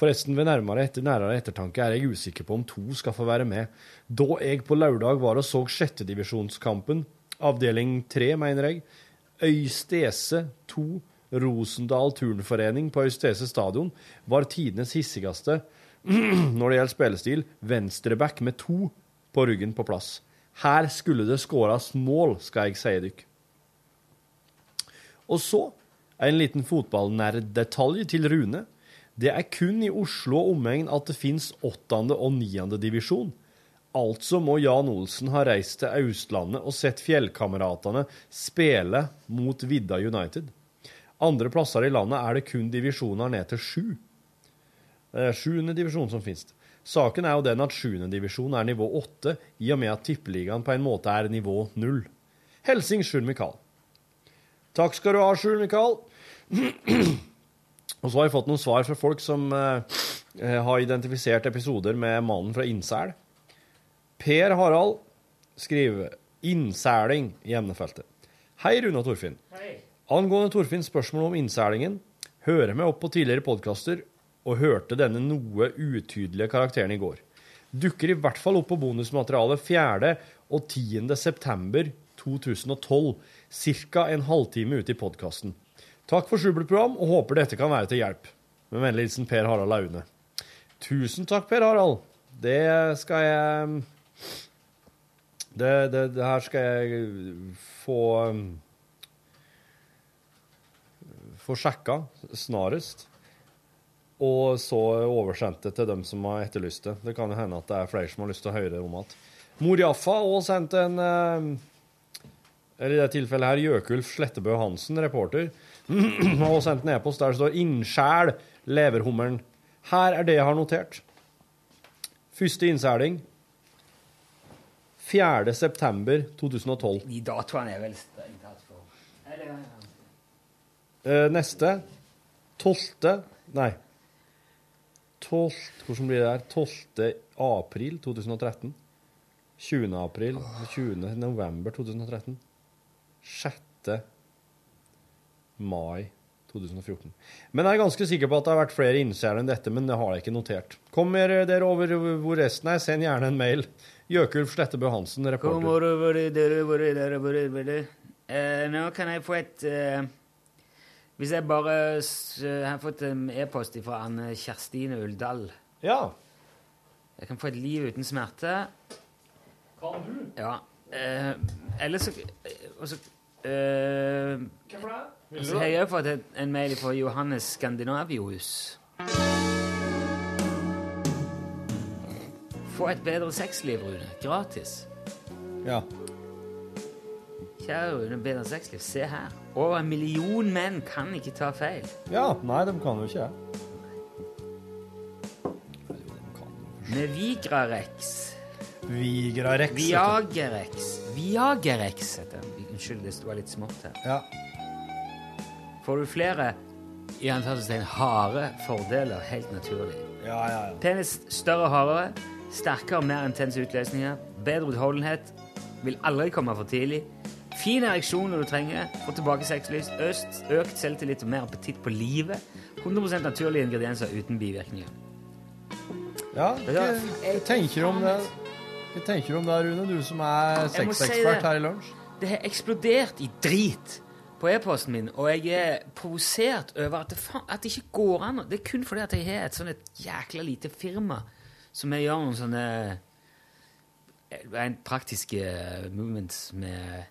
Speaker 5: Forresten, ved nærmere, etter, nærmere ettertanke er jeg usikker på om to skal få være med. Da jeg på lørdag var og så sjettedivisjonskampen, avdeling 3, mener jeg, Øystese 2, Rosendal turnforening på Øystese stadion, var tidenes hissigste når det gjelder spillestil, venstreback med to på ryggen på plass. Her skulle det skåres mål, skal jeg si dykk. Og så en liten fotballnerddetalj til Rune. Det er kun i Oslo og omegn at det fins åttende og niende divisjon. Altså må Jan Olsen ha reist til Austlandet og sett fjellkameratene spille mot Vidda United. Andre plasser i landet er det kun divisjoner ned til sju. Det er sjuende divisjon som finnes. Saken er jo den at sjuende divisjon er nivå åtte, i og med at tippeligaen på en måte er nivå null. Helsing Sjur Mikael. Takk skal du ha, Sjur Mikael. Og så har jeg fått noen svar fra folk som eh, eh, har identifisert episoder med mannen fra Innsel. Per Harald skriver 'innsæling' i emnefeltet. Hei, Rune og Torfinn.
Speaker 3: Hei.
Speaker 5: Angående Torfinns spørsmål om innselingen, hører meg opp på tidligere podkaster og hørte denne noe utydelige karakteren i går. Dukker i hvert fall opp på bonusmaterialet 4. og 10. september 2012, ca. en halvtime ute i podkasten. Takk for supert program, og håper dette kan være til hjelp. Med vennlig hilsen Per Harald Aune. Tusen takk, Per Harald. Det skal jeg Det, det, det her skal jeg få um, få sjekka snarest, og så oversendt det til dem som har etterlyst det. Det kan jo hende at det er flere som har lyst til å høre om igjen. Mor Jaffa òg sendte en eh, Eller i det tilfellet her Jøkulf Slettebø Hansen, reporter, og sendte en e-post der det står 'Innskjæl leverhummeren'. Her er det jeg har notert. Første innseling 4. september 2012.
Speaker 3: De datoene er vel strengt tatt for Eller,
Speaker 5: Eh, neste. Tolvte Nei. Tolvte Hvordan blir det her? 12. april 2013. 20. april 20. november 2013. 6. mai 2014. Men jeg er ganske sikker på at det har vært flere innseere enn dette, men det har jeg ikke notert. Kommer dere over hvor resten er, send gjerne en mail. Jøkulf Slettebø Hansen,
Speaker 3: Kom
Speaker 5: reporter.
Speaker 3: over, over, dere, over, dere, over, dere. Eh, Nå kan jeg få et eh, Hvis jeg bare s- Jeg har fått en e-post fra Anne Kjerstine Uldal.
Speaker 5: Ja.
Speaker 3: Jeg kan få et liv uten smerte.
Speaker 5: Kan du?
Speaker 3: Ja. Eh, Eller så Og så eh,
Speaker 5: Hvem er det? Vil du
Speaker 3: Så
Speaker 5: det?
Speaker 3: har jeg også fått et, en mail fra Johannes Skandinavius. Få et bedre sexliv, Rune. Gratis.
Speaker 5: Ja.
Speaker 3: Kjære Rune, bedre sexliv. Se her. Over en million menn kan ikke ta feil.
Speaker 5: Ja, nei, de kan jo ikke det.
Speaker 3: Navigrarex.
Speaker 5: Vigrarex. vet du.
Speaker 3: Viagerex. Viagerex heter den. Unnskyld, det var litt smått her.
Speaker 5: Ja.
Speaker 3: Får du flere i anførselstegn harde fordeler, helt naturlig.
Speaker 5: Ja, ja, ja.
Speaker 3: Penis større og hardere, sterkere og mer intense utløsninger, bedre utholdenhet, vil aldri komme for tidlig, fin ereksjon når du trenger, få tilbake sexlyst, øst, økt selvtillit og mer appetitt på livet, 100 naturlige ingredienser uten bivirkninger.
Speaker 5: Ja, hva tenker du om det? Hva tenker du om det, Rune? Du som er
Speaker 3: Jeg må si
Speaker 5: sexekspert
Speaker 3: det.
Speaker 5: her i lunsj.
Speaker 3: Det har eksplodert i drit på e-posten min, og jeg er provosert over at det, fa- at det ikke går an. å- Det er kun fordi at jeg har et sånn et jækla lite firma som jeg gjør noen sånne eh, rent praktiske eh, movements med eh,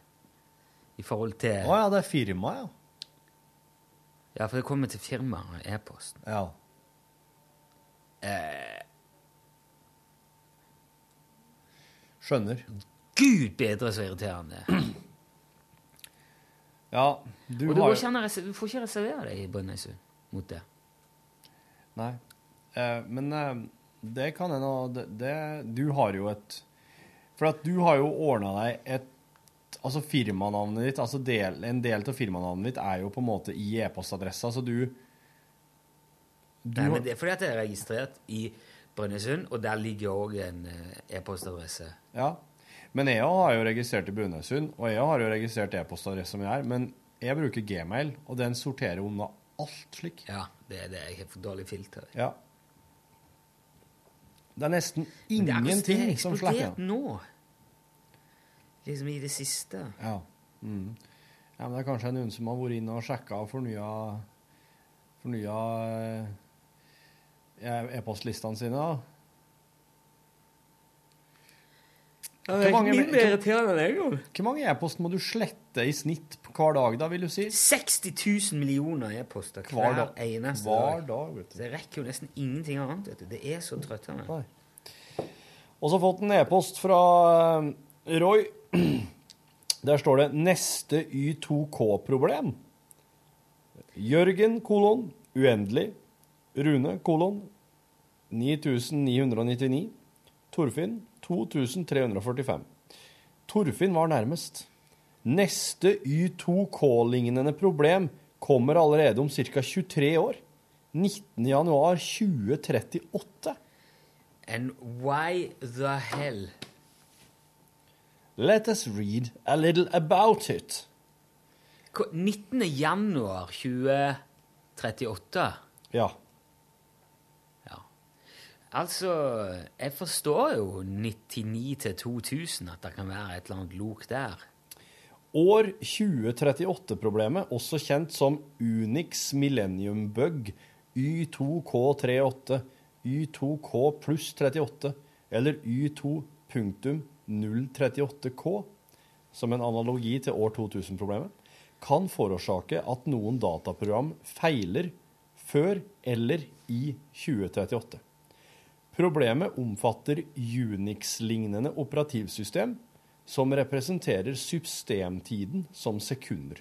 Speaker 3: i forhold til
Speaker 5: Å ja, det er firma, ja.
Speaker 3: Ja, for det kommer til firmaet og e-posten.
Speaker 5: Ja.
Speaker 3: Eh,
Speaker 5: Skjønner.
Speaker 3: Gud bedre så irriterende.
Speaker 5: Ja, du
Speaker 3: og du,
Speaker 5: har
Speaker 3: går ikke an å reser- du får ikke reservere deg i Brønnøysund mot det.
Speaker 5: Nei. Eh, men eh, det kan hende og det, det Du har jo et For at du har jo ordna deg et Altså firmanavnet ditt altså del, En del av firmanavnet ditt er jo på en måte i e-postadressa, så du Du
Speaker 3: Nei,
Speaker 5: har-
Speaker 3: men Det er fordi at jeg er registrert i Brønnøysund, og der ligger òg en eh, e-postadresse.
Speaker 5: Ja. Men jeg har jo registrert i Brunøysund, og jeg har jo registrert e-postadresse som jeg er, men jeg bruker Gmail, og den sorterer unna alt slik.
Speaker 3: Ja, det er det. Jeg har for dårlig filter.
Speaker 5: Ja. Det er nesten
Speaker 3: Men det er akkurat- det har
Speaker 5: ingenting som slapper
Speaker 3: eksplodert
Speaker 5: igjen.
Speaker 3: nå. Liksom i det siste.
Speaker 5: Ja. Mm. ja, men det er kanskje noen som har vært inne og sjekka og fornya Fornya eh, e-postlistene sine, da.
Speaker 3: det er mindre irriterende enn
Speaker 5: Hvor mange e-post må du slette i snitt på hver dag, da, vil du si?
Speaker 3: 60 000 millioner e-poster hver,
Speaker 5: dag.
Speaker 3: eneste
Speaker 5: Hver dag,
Speaker 3: dag. Så jeg rekker jo nesten ingenting annet. vet du. Det er så trøttende.
Speaker 5: Og så fått en e-post fra eh, Roy. Der står det 'neste Y2K-problem'. Jørgen kolon uendelig. Rune kolon 9999. Torfinn 2345. Torfinn var nærmest. Neste Y2K-lignende problem kommer allerede om ca. 23 år. 19.1.2038.
Speaker 3: And why the hell?
Speaker 5: Let us read a little about it.
Speaker 3: Hva- 19. januar 2038.
Speaker 5: Ja.
Speaker 3: Altså, jeg forstår jo 99 til 2000 at det kan være et eller annet lok der.
Speaker 5: År 2038-problemet, også kjent som Unix Millennium Bug, Y2K38, Y2K pluss 38, eller Y2.038K, som en analogi til år 2000-problemet, kan forårsake at noen dataprogram feiler før eller i 2038. Problemet omfatter Unix-lignende operativsystem som representerer systemtiden som sekunder.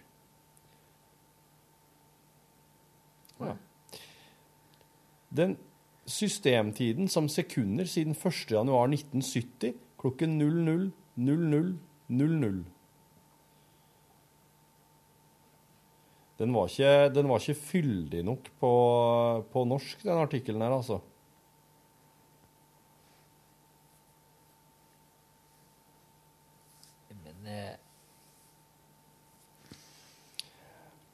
Speaker 5: Ja. Den systemtiden som sekunder siden 1. januar 1970 klokken 00.00.00. Den var ikke, den var ikke fyldig nok på, på norsk, den artikkelen her, altså.
Speaker 3: eh,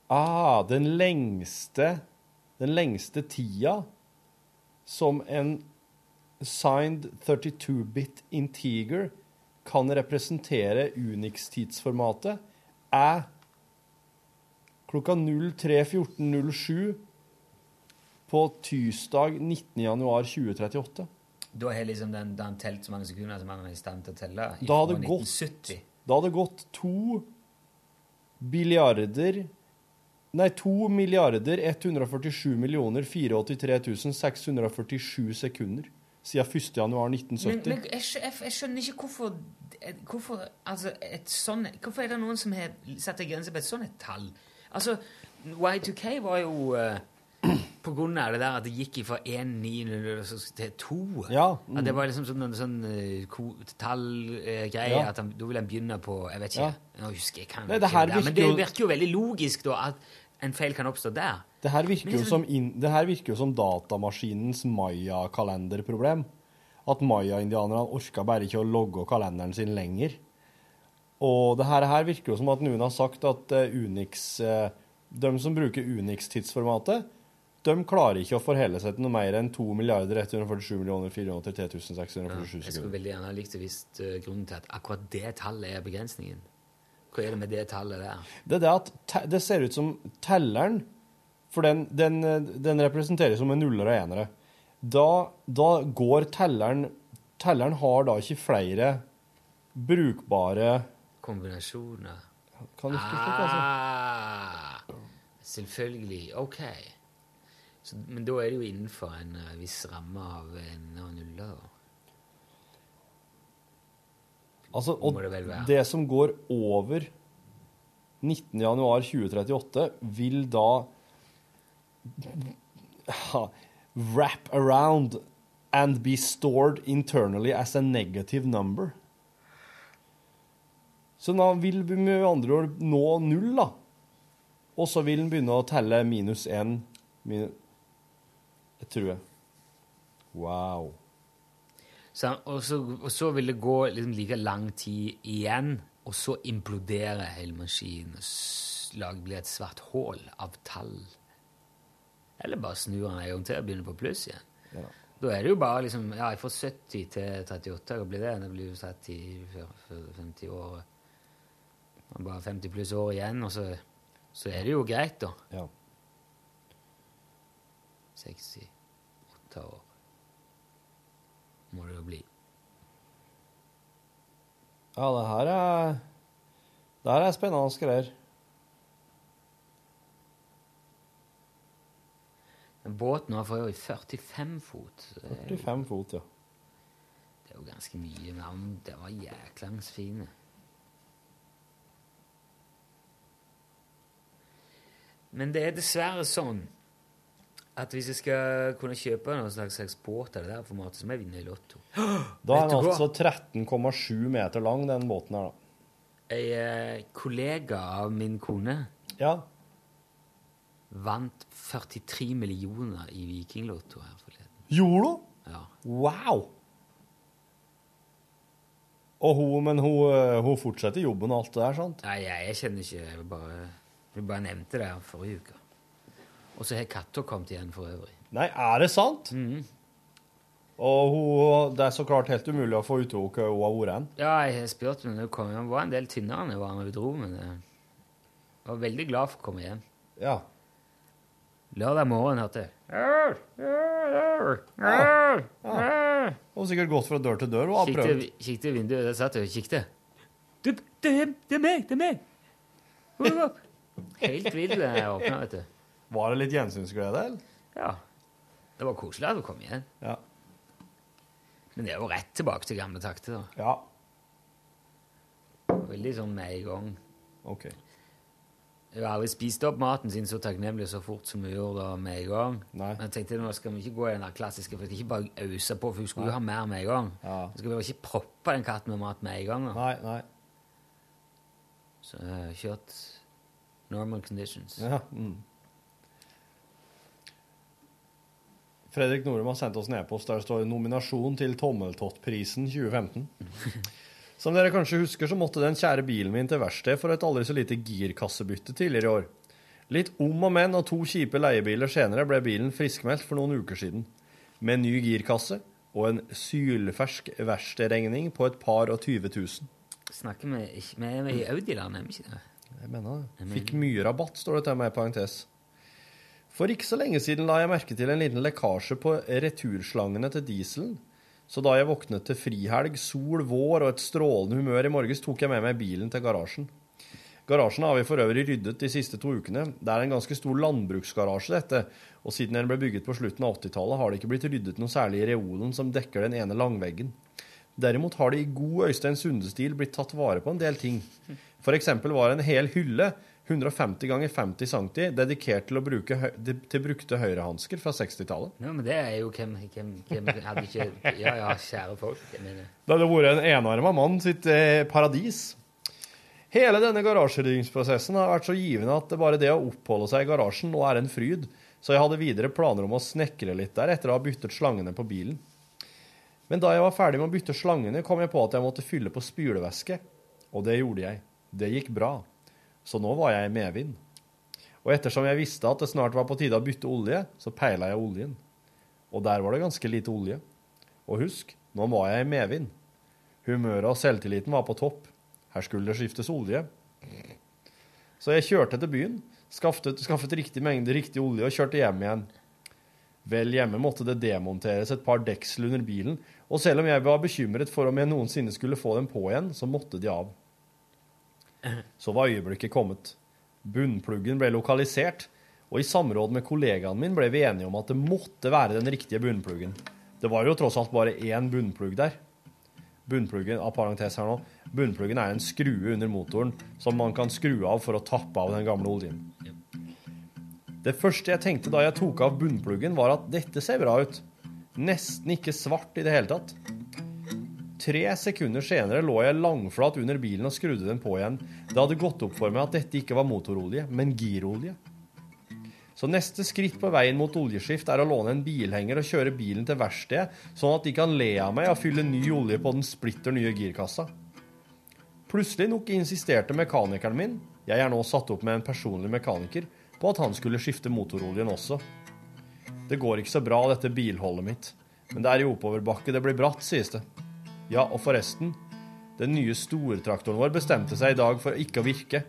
Speaker 5: Ah, den lengste Den lengste tida som en signed 32-bit integer kan representere Unix-tidsformatet, er klokka 03.14.07 på tirsdag 19.1.2038.
Speaker 3: Da har liksom den, den telt så mange sekunder som han er i stand til å telle.
Speaker 5: Da hadde
Speaker 3: ifra
Speaker 5: det gått-
Speaker 3: 1970.
Speaker 5: Da hadde det gått to billiarder Nei, 2 milliarder 147 millioner 483 647 sekunder siden 1. januar
Speaker 3: Men,
Speaker 5: 1970.
Speaker 3: men jeg, skjø- jeg, jeg skjønner ikke hvorfor Hvorfor, altså, et sånn, hvorfor er det noen som har satt en grense på et sånt tall? Altså, Y2K var jo eh, På grunn av det der at det gikk fra 1,900 til 2
Speaker 5: Ja, mm.
Speaker 3: At det var liksom sånn, en sånn eh, ko- tallgreie
Speaker 5: Ja.
Speaker 3: at han, da vil han begynne på Jeg vet ikke.
Speaker 5: Ja.
Speaker 3: Nå husker jeg kan
Speaker 5: Nei,
Speaker 3: ikke
Speaker 5: det her
Speaker 3: der, Men det
Speaker 5: virker jo-
Speaker 3: virker jo veldig logisk da at en feil kan oppstå der.
Speaker 5: Det her virker
Speaker 3: Men
Speaker 5: jo
Speaker 3: jeg
Speaker 5: som, inn- det her virker jo som datamaskinens maya-kalenderproblem. At maya-indianerne orka bare ikke å logge kalenderen sin lenger. Og det her, her virker jo som at noen har sagt at eh, Unix eh, De som bruker Unix-tidsformatet, de klarer ikke å forholde seg til noe mer enn 2 milliarder 147 millioner 483 647
Speaker 3: Jeg skulle
Speaker 5: sekunder.
Speaker 3: veldig gjerne ha likt å visst eh, grunnen til at akkurat det tallet er begrensningen. Hva er det med det tallet der?
Speaker 5: Det er det at te det ser ut som telleren For den, den, den representeres som en nuller og enere. Da, da går telleren Telleren har da ikke flere brukbare
Speaker 3: Kombinasjoner.
Speaker 5: Kan virke slik, altså.
Speaker 3: Ah, selvfølgelig. Ok. Så, men da er det jo innenfor en eh, viss ramme av en og nuller.
Speaker 5: altså
Speaker 3: må det vel
Speaker 5: og
Speaker 3: være.
Speaker 5: det som går over 19.1.2038, vil da ha, wrap around and be stored internally as a negative number. Så da vil vi med andre ord nå null, da. Og så vil den begynne å telle minus én minu Jeg tror jeg. Wow.
Speaker 3: Så, og, så, og så vil det gå liksom like lang tid igjen, og så imploderer hele maskinen. og s- lag- blir et svart hull av tall. Eller bare snur den en gang til og begynner på pluss igjen.
Speaker 5: Ja.
Speaker 3: Da er det jo bare liksom Ja, fra 70 til 38, hva blir det? Det blir jo 30 fyr- fyr- 50 år Det er Bare 50 pluss år igjen, og så, så er det jo greit, da.
Speaker 5: Ja.
Speaker 3: 60 åtte år må det jo bli.
Speaker 5: Ja, det her er Det her er spennende greier.
Speaker 3: Men båten har for øvrig 45 fot. så det er jo-
Speaker 5: 45 fot, ja.
Speaker 3: Det er jo ganske mye, men han- det var jæklans fine. Men det er dessverre sånn at hvis jeg skal kunne kjøpe noen slags eksport av det der formatet, så må jeg vinne i Lotto.
Speaker 5: Da er
Speaker 3: Vet
Speaker 5: den
Speaker 3: du hva?
Speaker 5: altså 13,7 meter lang, den båten her, da.
Speaker 3: En eh, kollega av min kone vant 43 millioner i Vikinglotto her forleden.
Speaker 5: Gjorde hun?
Speaker 3: Ja.
Speaker 5: Wow! Og hun, men hun, eh, hun fortsetter jobben og alt det der, sant?
Speaker 3: Nei, jeg, jeg kjenner ikke Jeg bare, jeg bare nevnte det her forrige uke. Og så har katta kommet igjen for øvrig.
Speaker 5: Nei, er det sant?
Speaker 3: Mhm.
Speaker 5: Og hun, det er så klart helt umulig å få ut henne hvor hun har vært hen.
Speaker 3: Ja, jeg har spurt henne når hun kom hjem. Hun var en del tynnere enn hun var når hun dro, men eh, jeg var veldig glad for å komme hjem.
Speaker 5: Ja.
Speaker 3: Lørdag morgen hørte jeg
Speaker 5: Hun har sikkert gått fra dør til dør og har
Speaker 3: Kikket
Speaker 5: prøvd.
Speaker 3: i- Kikket i vinduet, der satt hun og kikket.
Speaker 14: Det, er meg, det er meg!
Speaker 3: Helt vill da jeg åpna, vet du.
Speaker 5: Var det litt gjensynsglede, eller?
Speaker 3: Ja. Det var koselig at hun kom igjen.
Speaker 5: Ja.
Speaker 3: Men det er jo rett tilbake til gamle takter, da.
Speaker 5: Ja.
Speaker 3: Veldig sånn med en gang.
Speaker 5: Ok.
Speaker 3: Jeg har aldri spist opp maten sin så takknemlig så fort som vi gjorde da med en gang. Men jeg tenkte nå skal vi ikke gå i den der klassiske, for jeg skal ikke bare ause på, for hun skulle jo
Speaker 5: Nei.
Speaker 3: ha mer med en gang. Jeg skal bare ikke proppe en katt med mat med en gang. Da.
Speaker 5: Nei, nei.
Speaker 3: Så jeg har kjørt normal conditions.
Speaker 5: Ja. Mm. Fredrik Norum har sendt oss en e-post der det står 'nominasjon til Tommeltottprisen 2015'. Som dere kanskje husker, så måtte den kjære bilen min til verksted for et aldri så lite girkassebytte tidligere i år. Litt om og men og to kjipe leiebiler senere ble bilen friskmeldt for noen uker siden. Med ny girkasse og en sylfersk verkstedregning på et par og 20 000.
Speaker 3: Snakker vi ikke Vi er i Audi-land, er vi ikke det?
Speaker 5: Jeg mener det. Fikk mye rabatt, står det til meg i parentes. For ikke så lenge siden la jeg merke til en liten lekkasje på returslangene til dieselen. Så da jeg våknet til frihelg, sol, vår og et strålende humør i morges, tok jeg med meg bilen til garasjen. Garasjen har vi for øvrig ryddet de siste to ukene. Det er en ganske stor landbruksgarasje, dette, og siden den ble bygget på slutten av 80-tallet, har det ikke blitt ryddet noe særlig i reolen som dekker den ene langveggen. Derimot har det i god Øystein Sunde-stil blitt tatt vare på en del ting. For eksempel var en hel hylle, 150 ganger 50 cm, dedikert til, å bruke, hø- til brukte høyrehansker fra 60-tallet.
Speaker 3: Ja, men det er jo hvem, hvem, hvem hadde ikke Ja, ja, kjære folk. Jeg mener.
Speaker 5: Det hadde vært en enarma mann sitt eh, paradis. Hele denne garasjeryddingsprosessen har vært så givende at det bare det å oppholde seg i garasjen nå er en fryd, så jeg hadde videre planer om å snekre litt der etter å ha byttet slangene på bilen. Men da jeg var ferdig med å bytte slangene, kom jeg på at jeg måtte fylle på spylevæske. Og det gjorde jeg. Det gikk bra. Så nå var jeg i medvind. Og ettersom jeg visste at det snart var på tide å bytte olje, så peila jeg oljen. Og der var det ganske lite olje. Og husk, nå var jeg i medvind. Humøret og selvtilliten var på topp. Her skulle det skiftes olje. Så jeg kjørte til byen, skaffet, skaffet riktig mengde riktig olje og kjørte hjem igjen. Vel hjemme måtte det demonteres et par deksel under bilen, og selv om jeg var bekymret for om jeg noensinne skulle få dem på igjen, så måtte de av. Så var øyeblikket kommet. Bunnpluggen ble lokalisert, og i samråd med kollegaen min ble vi enige om at det måtte være den riktige bunnpluggen. Det var jo tross alt bare én bunnplugg der. Bunnpluggen av parentes her nå, bunnpluggen er en skrue under motoren som man kan skru av for å tappe av den gamle oljen. Det første jeg tenkte da jeg tok av bunnpluggen, var at dette ser bra ut. Nesten ikke svart i det hele tatt. Tre sekunder senere lå jeg langflat under bilen og skrudde den på igjen. Det hadde gått opp for meg at dette ikke var motorolje, men girolje. Så neste skritt på veien mot oljeskift er å låne en bilhenger og kjøre bilen til verkstedet, sånn at de kan le av meg og fylle ny olje på den splitter nye girkassa. Plutselig nok insisterte mekanikeren min, jeg er nå satt opp med en personlig mekaniker, på at han skulle skifte motoroljen også. Det går ikke så bra, dette bilholdet mitt, men det er i oppoverbakke, det blir bratt, sies det. Ja, og forresten, den nye stortraktoren vår bestemte seg i dag for ikke å virke.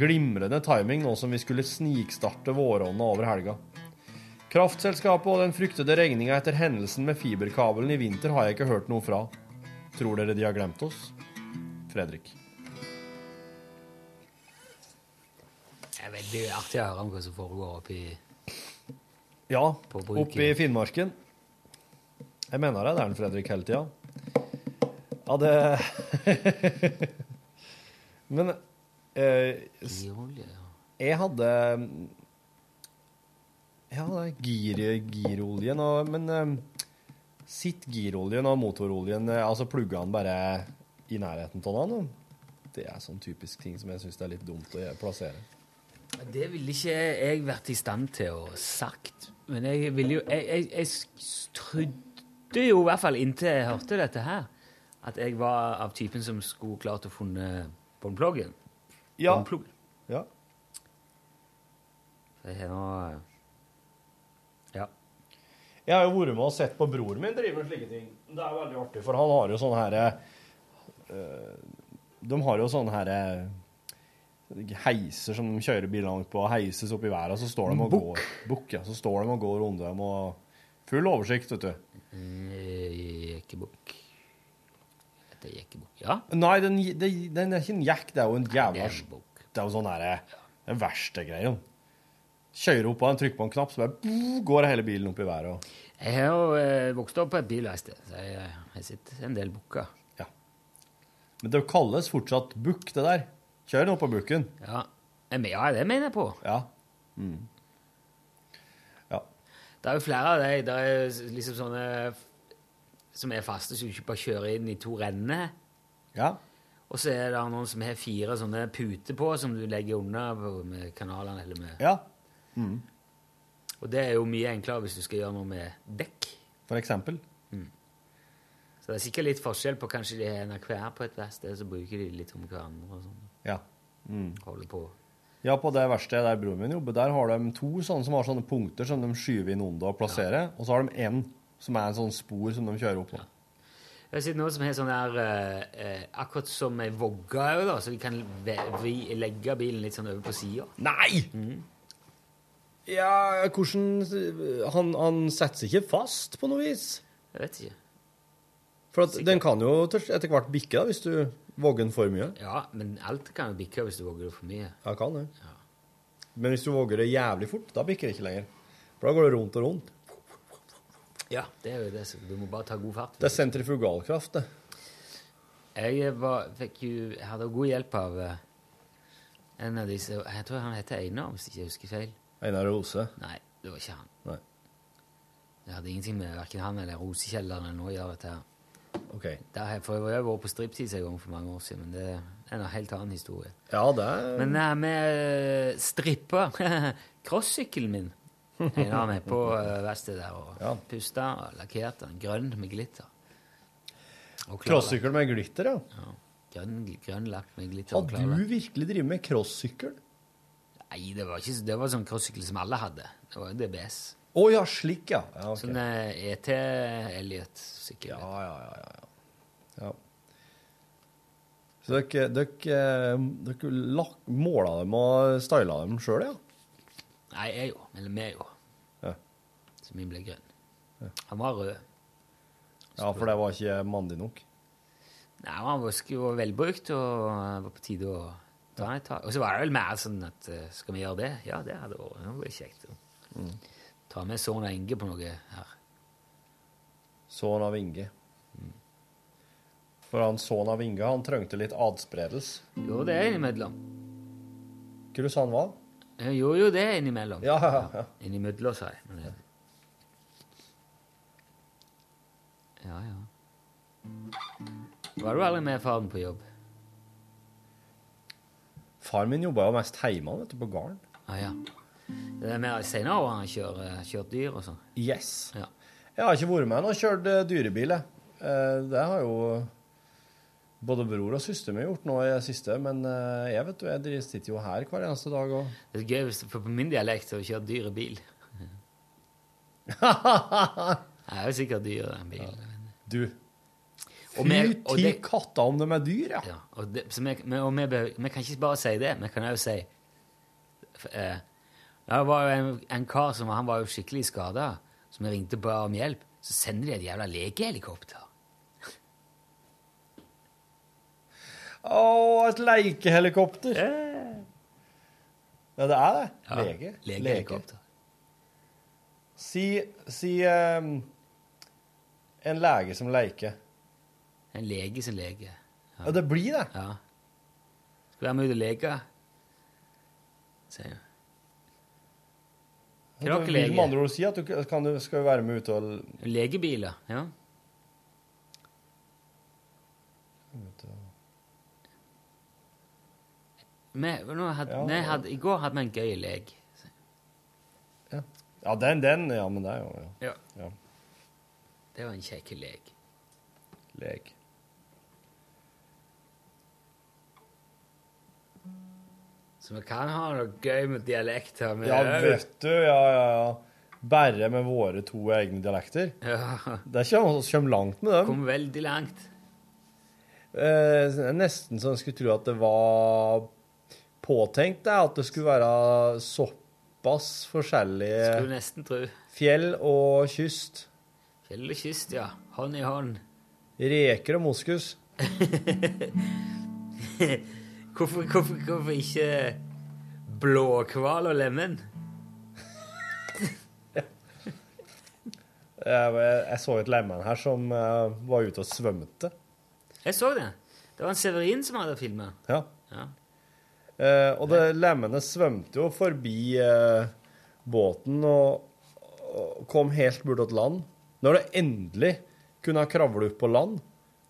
Speaker 5: Glimrende timing nå som vi skulle snikstarte vårånda over helga. Kraftselskapet og den fryktede regninga etter hendelsen med fiberkabelen i vinter har jeg ikke hørt noe fra. Tror dere de har glemt oss? Fredrik.
Speaker 3: Det er veldig artig å høre om hva som foregår oppi
Speaker 5: Ja,
Speaker 3: På bruket.
Speaker 5: oppe i Finnmarken. Jeg mener det, det er den Fredrik hele tida. Ja, det Men eh, s- Jeg hadde Jeg hadde gir, giroljen og Men eh, sitt giroljen og motoroljen eh, Altså plugga han bare i nærheten av den? da? Det er sånn typisk ting som jeg syns det er litt dumt å gjøre- plassere.
Speaker 3: Det ville ikke jeg vært i stand til å sagt. Men jeg ville jo Jeg, jeg, jeg s- trodde jo, i hvert fall inntil jeg hørte dette her, at jeg var av typen som skulle klart å funne båndpluggen.
Speaker 5: Ja.
Speaker 3: Båndplugg.
Speaker 5: Ja.
Speaker 3: Jeg har nå Ja.
Speaker 5: Jeg har jo vært med og sett på broren min drive med slike ting. Det er veldig artig, for han har jo sånn her eh, De har jo sånne her eh, heiser som de kjører bilene ut på, heises opp i været, og så står de og går Bukk, ja. Så står de og går rundt dem og Full oversikt, vet du.
Speaker 3: Jekkebukk. Dette er jekkebukk. Ja.
Speaker 5: Nei, den, den, den er ikke en jekk, det er jo en jævla Det er jo sånn herre Den verste greien. Kjører opp av en trykker på en knapp, så bare boo, går hele bilen opp i været. og
Speaker 3: Jeg har jo eh, vokst opp på et bilverksted, så jeg eh, har sett en del bukker.
Speaker 5: Men det kalles fortsatt bukk, det der. Kjør nå på bukken.
Speaker 3: Ja. Eh, men ja, det mener jeg på.
Speaker 5: Ja.
Speaker 3: Det er jo flere av de Det er s- liksom sånne f- som er faste, som ikke bare kjører inn i to renner.
Speaker 5: Ja.
Speaker 3: Og så er det noen som har fire sånne puter på, som du legger unna på- med kanalene eller med
Speaker 5: Ja.
Speaker 3: Og det er jo mye enklere hvis du skal gjøre noe med dekk.
Speaker 5: For eksempel.
Speaker 3: Så det er sikkert litt forskjell på kanskje de har en av hver på et verksted, så bruker de litt om hverandre og sånn.
Speaker 5: Ja.
Speaker 3: Holder på.
Speaker 5: Ja, på det verkstedet der broren min jobber, der har de to sånne som har sånne punkter som de skyver inn under og plasserer, og så har de én som er en sånn spor som de kjører opp på.
Speaker 3: Jeg har sett noe som er sånn der eh, eh, Akkurat som ei vogge òg, da. Så vi kan ve- vri- legge bilen litt sånn over på sida.
Speaker 5: Nei! Ja, hvordan han, han setter seg ikke fast på noe vis.
Speaker 3: Jeg vet ikke.
Speaker 5: For at den kan jo til- etter hvert bikke da, hvis du våger den for mye.
Speaker 3: Ja, men alt kan jo bikke hvis du våger det for mye.
Speaker 5: Ja, kan det. Men hvis du våger det jævlig fort, da bikker det ikke lenger. For da går det rundt og rundt.
Speaker 3: Ja, det er jo det. Så du må bare ta god fart.
Speaker 5: Det er sentrifugalkraft, det.
Speaker 3: Jeg var, fikk jo, jeg hadde god hjelp av eh, en av disse Jeg tror han heter Einar, hvis ikke jeg husker feil.
Speaker 5: Einar Rose?
Speaker 3: Nei, det var ikke han.
Speaker 5: Nei.
Speaker 3: Det hadde ingenting med verken han eller Rosekjelleren eller noe å gjøre. dette her.
Speaker 5: Ok.
Speaker 3: Der har jeg for øvrig vært på striptease en gang for mange år siden, men det er en helt annen historie.
Speaker 5: Ja, det er
Speaker 3: Men eh, vi strippa crossykkelen min. Einar med på eh, verkstedet der og ja. pusta og lakkerte den grønn med glitter. Og klarlakk.
Speaker 5: Crossykkel med glitter, ja.
Speaker 3: Grønn, grønn lakk med glitter. og
Speaker 5: Har
Speaker 3: klarlakk.
Speaker 5: du virkelig drevet med crossykkel?
Speaker 3: Nei, det var, ikke, det var sånn crossykkel som alle hadde. Det var jo DBS.
Speaker 5: Å ja, slik, ja. ja ok.
Speaker 3: Sånn eh, ET Elliot-sykkel.
Speaker 5: Ja, ja, ja, ja. Så dere, dere, eh, dere lak, måla dem og styla dem sjøl, ja?
Speaker 3: Nei, jeg jo. Eller vi jo.
Speaker 5: Ja.
Speaker 3: Så min ble grønn. Han var rød.
Speaker 5: Ja, for det var ikke mandig nok.
Speaker 3: Nei, han var, sk- var velbrukt, og det var på tide å ta han et tak. Og så var det vel mer sånn at eh, skal vi gjøre det? Ja, det hadde vært det hadde vært kjekt. å
Speaker 5: Mm.
Speaker 3: Ta med Sorna Inge på noe her.
Speaker 5: Sønn av Inge. For han sønn av Inge, han trengte litt adspredelse.
Speaker 3: Jo, det er innimellom.
Speaker 5: Hva du sa han var?
Speaker 3: Jeg gjorde jo det innimellom.
Speaker 5: Ja, ja, ja.
Speaker 3: Innimellom, sa jeg. Men, ja, ja. Var du aldri med faren på jobb?
Speaker 5: Far min jobba jo mest hjemme, vet du, på gården.
Speaker 3: Ah, ja. Det er mer senere år han kjører, eh, kjørt dyr og sånn.
Speaker 5: Yes.
Speaker 3: Ja.
Speaker 5: Jeg har ikke vært med han og kjørt eh, dyrebil, jeg. Eh, Det har jo både bror og søster min gjort nå i det siste, men eh, jeg vet du, jeg driver- sitter jo her hver eneste dag og
Speaker 3: Det er gøy hvis du på på min dialekt har kjørt dyr i bil. Jeg er jo sikkert dyr i en bil.
Speaker 5: Du.
Speaker 3: Og vi-
Speaker 5: Fy
Speaker 3: og
Speaker 5: ti
Speaker 3: det-
Speaker 5: katter om de er dyr, ja.
Speaker 3: Og, det, så vi, vi, og vi, behøver, vi kan ikke bare si det, vi kan også si f- eh, Det var jo en, en kar som han var jo skikkelig skada, som vi ringte bare om hjelp. Så sender de et jævla legehelikopter.
Speaker 5: Å, et leikehelikopter! Ja, det er det.
Speaker 3: Eh. Ja,
Speaker 5: Lege.
Speaker 3: legehelikopter.
Speaker 5: Si, si ehm, en lege som leker.
Speaker 3: En lege som lege.
Speaker 5: Ja. det blir det.
Speaker 3: Ja. Skal være med ut og leke, sier hun. Kan
Speaker 5: Du
Speaker 3: dere
Speaker 5: vil
Speaker 3: lege?
Speaker 5: med andre ord si at du k- kan, du skal være med ut og
Speaker 3: Legebiler, ja. Vi, nå hadde,
Speaker 5: Ja,
Speaker 3: nei,
Speaker 5: ja.
Speaker 3: hadde, I går hadde vi en gøy lek.
Speaker 5: Ja, den, den. Ja, men det er jo
Speaker 3: Ja.
Speaker 5: ja.
Speaker 3: Det var en kjekk lek.
Speaker 5: Lek.
Speaker 3: Så vi kan ha noe gøy med dialekter. men-
Speaker 5: Ja, vet du. Ja, ja, ja. Bare med våre to egne dialekter.
Speaker 3: Ja.
Speaker 5: Det kommer vi langt med dem.
Speaker 3: Kom veldig langt.
Speaker 5: Eh, det er nesten så en skulle tro at det var påtenkt, det, at det skulle være såpass
Speaker 3: Skulle
Speaker 5: forskjellige
Speaker 3: nesten tro.
Speaker 5: fjell og kyst.
Speaker 3: Fjell og kyst, ja. Hånd i hånd.
Speaker 5: Reker og moskus.
Speaker 3: Hvorfor, hvorfor, hvorfor ikke blåkval og lemen?
Speaker 5: Jeg, jeg så et lemen her som eh, var ute og svømte.
Speaker 3: Jeg så det. Det var en Severin som hadde filma.
Speaker 5: Ja.
Speaker 3: Ja.
Speaker 5: Eh, og det lemenet svømte jo forbi eh, båten og, og kom helt bort til land. Når det endelig kunne kravle opp på land,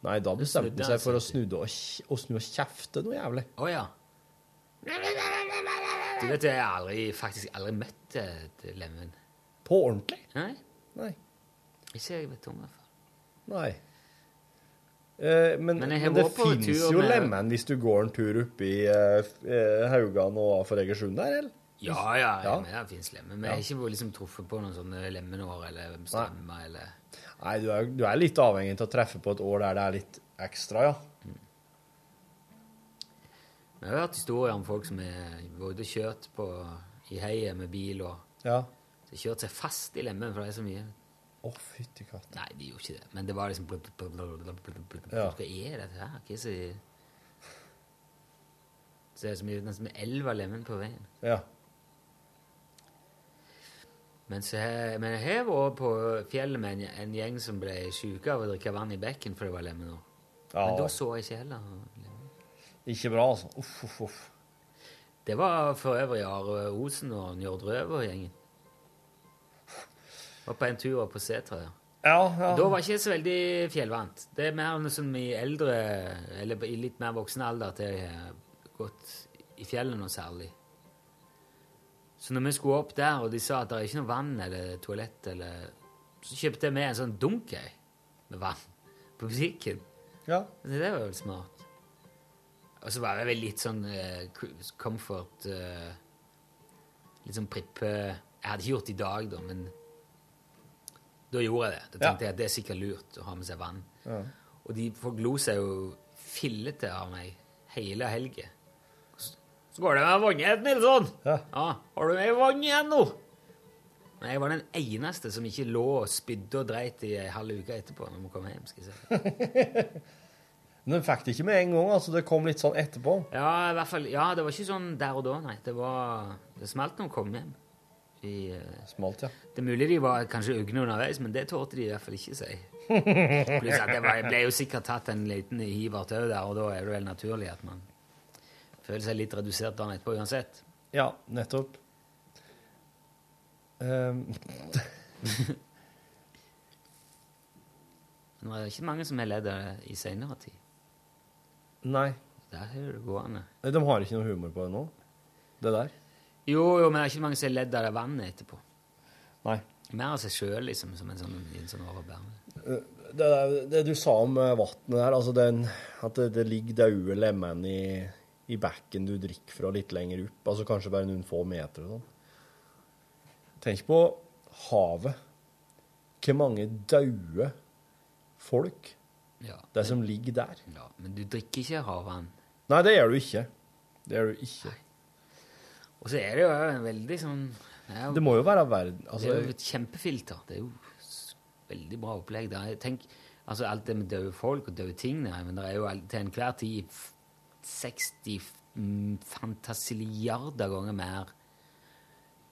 Speaker 5: nei, da bestemte
Speaker 3: snudde
Speaker 5: han
Speaker 3: han
Speaker 5: seg for å snudde og, kj- og snu og kjefte noe jævlig.
Speaker 3: Å ja. Du vet, jeg har aldri, faktisk aldri møtt et lemen.
Speaker 5: På ordentlig?
Speaker 3: Nei.
Speaker 5: Nei.
Speaker 3: Ikke jeg vet om, i hvert fall.
Speaker 5: Nei. Eh, men,
Speaker 3: Men jeg har
Speaker 5: men det
Speaker 3: vært på
Speaker 5: fins
Speaker 3: tur
Speaker 5: jo
Speaker 3: med-
Speaker 5: lemen hvis du går en tur oppi eh, f- eh, Haugan og for Egersund der, eller?
Speaker 3: Ja, ja, jeg
Speaker 5: Ja.
Speaker 3: er med, det fins lemmer. Men jeg har ikke liksom, truffet på noen sånne lemenår eller stammer eller
Speaker 5: Nei, du er, du er litt avhengig av å treffe på et år der det er litt ekstra, ja.
Speaker 3: Men Jeg har hørt historier om folk som er både kjørt på, i heiet med bil og
Speaker 5: Ja.
Speaker 3: så kjørt seg fast i lemmen, for det er så mye.
Speaker 5: Å, fytti katt.
Speaker 3: Nei, de gjorde ikke det. Men det var liksom blub, blub, blub, blub, blub, blub, blub.
Speaker 5: Ja.
Speaker 3: Hva er dette her? Hva er så Så det er så mye, nesten med elva lemen på veien.
Speaker 5: Ja.
Speaker 3: Men, så, he- men jeg har vært på fjellet med en, en gjeng som ble syke av å drikke vann i bekken for det var lemenår.
Speaker 5: Ja.
Speaker 3: Men da så jeg ikke heller lemen.
Speaker 5: Ikke bra, altså. Uff, uff, uff.
Speaker 3: Det var for øvrig Are Osen og Njord Røver-gjengen. Var på en tur opp på setra, ja. Da var ikke jeg så veldig fjellvant. Det er mer noe som i eldre, eller i litt mer voksen alder, at jeg har gått i fjellet noe særlig. Så når vi skulle opp der, og de sa at det er ikke noe vann eller toalett eller Så kjøpte jeg med en sånn dunk jeg, med vann på butikken.
Speaker 5: Ja.
Speaker 3: Det der var jo smart. Og så var det vel litt sånn eh, comfort eh, Litt sånn prippe Jeg hadde ikke gjort det i dag, da, men da gjorde jeg det. Da tenkte jeg at det er sikkert lurt å ha med seg vann.
Speaker 5: Ja.
Speaker 3: Og de folk lo seg jo fillete av meg hele helga. Så går det med vann igjen, Nilsson? Ja. Har du mer vann igjen nå? Men jeg var den eneste som ikke lå og spydde og dreit i ei halv uke etterpå. Når vi kom hjem, skal jeg si.
Speaker 5: Men den fikk det ikke med en gang, altså. Det kom litt sånn etterpå.
Speaker 3: Ja, i hvert fall, ja, det var ikke sånn der og da, nei. Det, var, det smalt når vi kom hjem. I, eh,
Speaker 5: Smalt, ja.
Speaker 3: Det er mulig de var kanskje ugne underveis, men det tålte de i hvert fall ikke si. Pluss at det var, jeg ble jo sikkert tatt en liten hiver tau der, og da er det vel naturlig at man føler seg litt redusert dagen etterpå uansett.
Speaker 5: Ja, nettopp. Ehm,
Speaker 3: Men det er ikke mange som har ledd av det i senere tid.
Speaker 5: nei,
Speaker 3: Der har du det gående.
Speaker 5: de har ikke noe humor på det nå. Det der.
Speaker 3: Jo, jo, men det er ikke mange som har ledd av det vannet etterpå.
Speaker 5: Nei.
Speaker 3: Mer av seg sjøl, liksom, som en sånn, en sånn overbærende.
Speaker 5: Eh, Det, der- det du sa om eh, vattnet der, altså den, at det, det ligger daue lemen i, i bekken du drikker fra litt lenger opp, altså kanskje bare noen få meter og sånn. Tenk på havet. Hvor mange daue folk
Speaker 3: Ja.
Speaker 5: det som ligger der.
Speaker 3: Ja, men du drikker ikke havvann.
Speaker 5: Nei, det gjør du ikke. Det gjør du ikke.
Speaker 3: Og så er det jo en veldig sånn det, er jo-
Speaker 5: Det må jo være verden altså,
Speaker 3: det er jo et kjempefilter. Det er jo s- veldig bra opplegg. Der. Jeg tenk, altså Alt det med døde folk og døde ting der, men det er jo alt- til enhver tid f- 60 f- mm, fantasiliarder ganger mer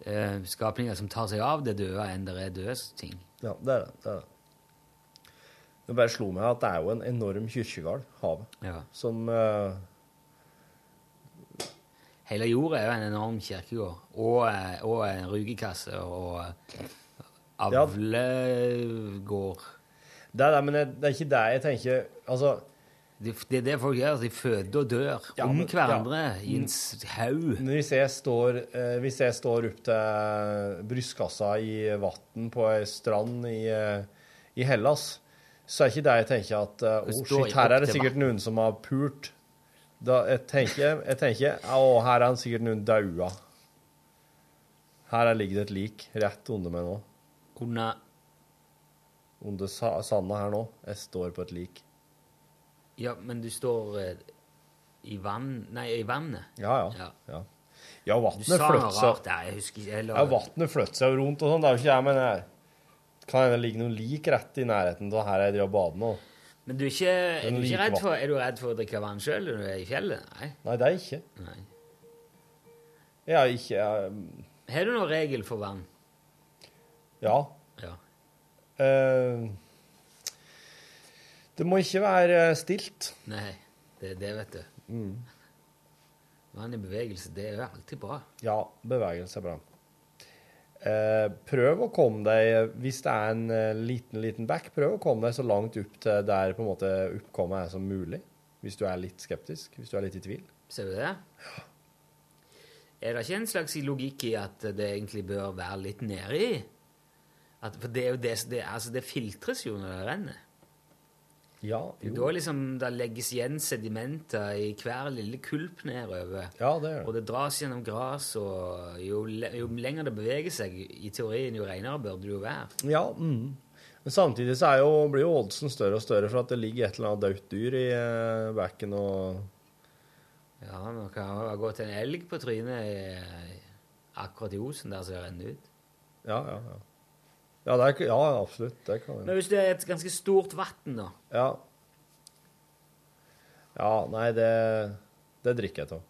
Speaker 3: eh, skapninger som tar seg av det døde, enn det er døde ting.
Speaker 5: Ja, det er det. det, er det. det bare slo meg at det er jo en enorm kirkegård, havet,
Speaker 3: Ja.
Speaker 5: som eh,
Speaker 3: Hele jorda er jo en enorm kirkegård. Og, eh, og en rugekasse og eh, avlegård.
Speaker 5: Det er det, men det, det er ikke det jeg tenker Altså
Speaker 3: Det, det er det folk gjør. De føder og dør om
Speaker 5: men-
Speaker 3: hverandre
Speaker 5: ja.
Speaker 3: i en s- haug.
Speaker 5: Men Hvis jeg står, eh, hvis jeg står opp til eh, brystkassa i vann på ei strand i, eh, i Hellas, så er ikke det jeg tenker at eh,
Speaker 3: Du
Speaker 5: Å,
Speaker 3: står
Speaker 5: shit, her
Speaker 3: opp
Speaker 5: er det
Speaker 3: til
Speaker 5: sikkert noen som har pult. Da, jeg, tenker, jeg tenker Å, her er det sikkert noen daua. Her er- ligger det et lik rett under meg nå.
Speaker 3: Under
Speaker 5: Under sa- sanda her nå. Jeg står på et lik.
Speaker 3: Ja, men du står eh, i vann Nei, i vannet.
Speaker 5: Ja, ja. Ja, ja
Speaker 3: Du
Speaker 5: vannet
Speaker 3: sa noe
Speaker 5: flytter seg.
Speaker 3: rart der. Jeg husker ikke
Speaker 5: Ja,
Speaker 3: eller,
Speaker 5: vannet flytter seg jo rundt og sånn. Det er jo ikke jeg, men jeg kan hende det ligger noen lik rett i nærheten av her jeg driver og bader nå.
Speaker 3: Men du er ikke, er
Speaker 5: Den
Speaker 3: du
Speaker 5: liker
Speaker 3: ikke redd
Speaker 5: vann.
Speaker 3: for, er du redd for å drikke vann sjøl når du er i fjellet? Nei.
Speaker 5: Nei, det er jeg ikke.
Speaker 3: Nei.
Speaker 5: Jeg er ikke jeg,
Speaker 3: Har du noen regel for vann?
Speaker 5: Ja.
Speaker 3: Ja.
Speaker 5: Eh, det må ikke være eh, stilt.
Speaker 3: Nei. Det er det, vet du. Vann i bevegelse, det er jo alltid bra.
Speaker 5: Ja, bevegelse er bra. Eh, prøv å komme deg, hvis det er en eh, liten, liten back, prøv å komme deg så langt opp til der på en måte oppkommet er som mulig. Hvis du er litt skeptisk, hvis du er litt i tvil.
Speaker 3: Ser du det? Er det ikke en slags logikk i at det egentlig bør være litt nedi? At, for det er jo det, det, altså det filtres jo når det renner.
Speaker 5: Ja,
Speaker 3: Det er
Speaker 5: jo.
Speaker 3: da liksom det legges igjen sedimenter i hver lille kulp nedover.
Speaker 5: Ja, det gjør det.
Speaker 3: Og det dras gjennom gress, og jo, le- jo lenger det beveger seg, i teorien, jo renere bør det jo være.
Speaker 5: Ja, mm. Men samtidig så er jo, blir jo oddsen større og større for at det ligger et eller annet dødt dyr i eh, bekken og
Speaker 3: Ja, nå kan det ha gått en elg på trynet i, akkurat i osen der som renner ut.
Speaker 5: Ja, ja, ja. Ja, det er, ikke- ja absolutt. Det kan
Speaker 3: Men
Speaker 5: jeg.
Speaker 3: hvis det er et ganske stort vann, da
Speaker 5: Ja. ja, nei, det, det drikker jeg av.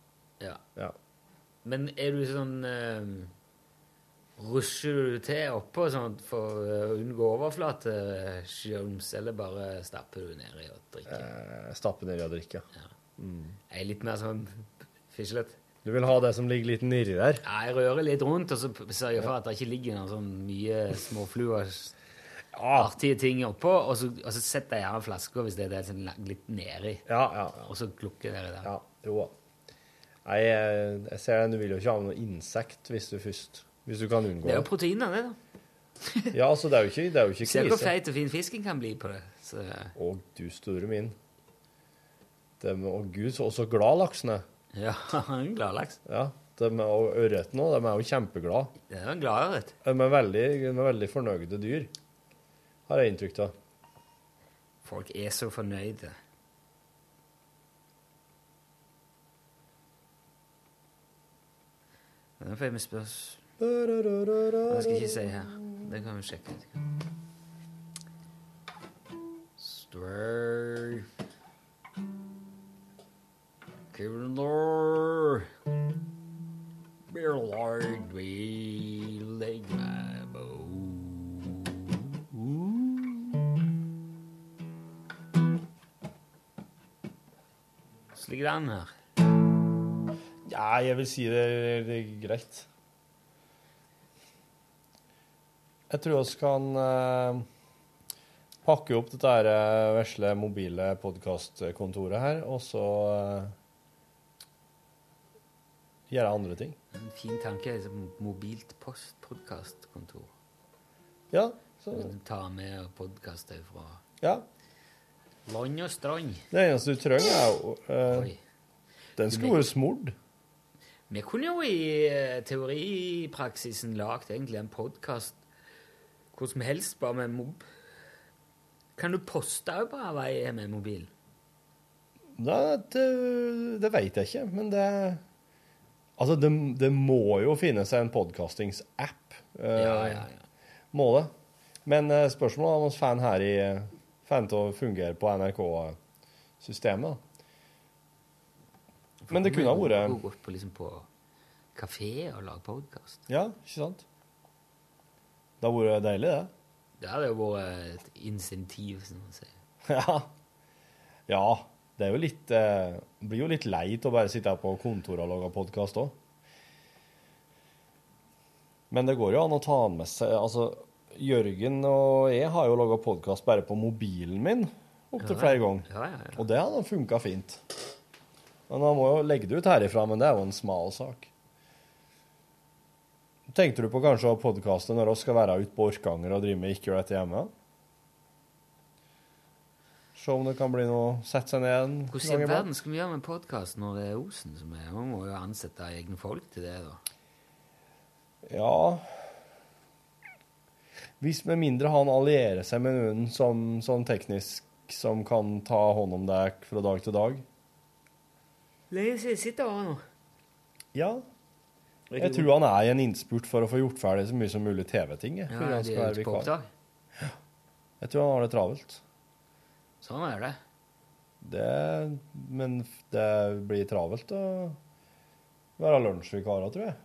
Speaker 3: Ja.
Speaker 5: Ja.
Speaker 3: Men er du sånn eh, Rusher du til oppå sånn for å unngå overflateskjøms, eller bare stapper du nedi og drikker?
Speaker 5: Eh, Stappe nedi og drikke. Ja. Mm.
Speaker 3: Jeg er litt mer sånn fislete.
Speaker 5: Du vil ha det som ligger litt nedi der?
Speaker 3: Ja, jeg rører litt rundt, og så p- sørger jeg for at det ikke ligger noen sånn mye småfluer artige ting oppå, og så, og så setter jeg gjerne flasker hvis det er det som ligger litt nedi.
Speaker 5: Ja, ja,
Speaker 3: Og så klukker dere der.
Speaker 5: Ja, jo. Nei, jeg, jeg ser det. Du vil jo ikke ha noe insekt hvis du først Hvis du kan unngå
Speaker 3: Det er jo proteiner, det, da.
Speaker 5: Ja, altså, det er jo ikke, det er jo ikke
Speaker 3: Se hvor
Speaker 5: krise.
Speaker 3: feit og fin fisken kan bli på det. Så, eh,
Speaker 5: Å, du store min. De, å gud, så, så glad laksen er.
Speaker 3: Ja, en glad laks.
Speaker 5: Ja, de, er- og ørreten òg. De er jo kjempeglade.
Speaker 3: Det er en glad ørret.
Speaker 5: De er veldig, de er veldig fornøyde dyr, har jeg inntrykk av.
Speaker 3: folk er så fornøyde. Men Nå får jeg med spørsmål. Det skal jeg ikke si her. Det kan vi sjekke etterpå. Stray Kivnor Billard We Slik det an her.
Speaker 5: Ja, jeg vil si det, det er greit. Jeg tror vi kan eh, pakke opp dette her, eh, vesle mobile podkastkontoret her, og så eh, gjøre andre ting.
Speaker 3: En fin tanke er liksom mobilt postpodkastkontor.
Speaker 5: Ja, så-
Speaker 3: Du tar med podkaster fra
Speaker 5: Ja.
Speaker 3: land og strand.
Speaker 5: Det eneste du trenger, er jo eh, Den skulle vært smord.
Speaker 3: Vi kunne jo i eh, teoripraksisen lagd egentlig en podkast hvor som helst, bare med mob... Kan du poste òg på vei med mobil?
Speaker 5: Nei, det, det veit jeg ikke, men det Altså, det, det må jo finnes en podkastings-app. eh,
Speaker 3: Ja, ja,
Speaker 5: Må det. Men eh, spørsmålet er om vi får den her i Får den til å fungere på NRK-systemet. da. Men det kunne ha vært
Speaker 3: Gå på, liksom på kafé og lage podkast.
Speaker 5: Ja, ikke sant? Det hadde vært deilig, det.
Speaker 3: Det hadde jo vært et insentiv, som man sier.
Speaker 5: Ja. ja. Det er jo litt eh, Blir jo litt leit å bare sitte her på kontoret og lage podkast òg. Men det går jo an å ta den med seg Altså, Jørgen og jeg har jo laga podkast bare på mobilen min opptil
Speaker 3: Ja,
Speaker 5: flere ganger.
Speaker 3: ja, ja,
Speaker 5: Og det hadde funka fint. Men han må jo legge det ut herifra, men det er jo en smal sak. Tenkte du på kanskje å podkaste når vi skal være ute på Orkanger og drive med Ikke gjør dette hjemme? Se om det kan bli noe Sette seg ned en
Speaker 3: Hvordan i
Speaker 5: gang iblant.
Speaker 3: verden skal vi gjøre med podkast når det er Osen som er Man må jo ansette egne folk til det, da.
Speaker 5: Ja Hvis med mindre han allierer seg med noen som, sånn teknisk som kan ta hånd om deg fra dag til dag.
Speaker 3: Sitter over nå.
Speaker 5: Ja. Jeg tror han er i en innspurt for å få gjort ferdig så mye som mulig TV-ting. jeg,
Speaker 3: Ja,
Speaker 5: fordi
Speaker 3: de
Speaker 5: han skal
Speaker 3: er
Speaker 5: være
Speaker 3: ute på
Speaker 5: vikar.
Speaker 3: oppdrag.
Speaker 5: Ja. Jeg tror han har det travelt.
Speaker 3: Sånn er det.
Speaker 5: Det, men f- det blir travelt å være lunsjvikarer, tror jeg.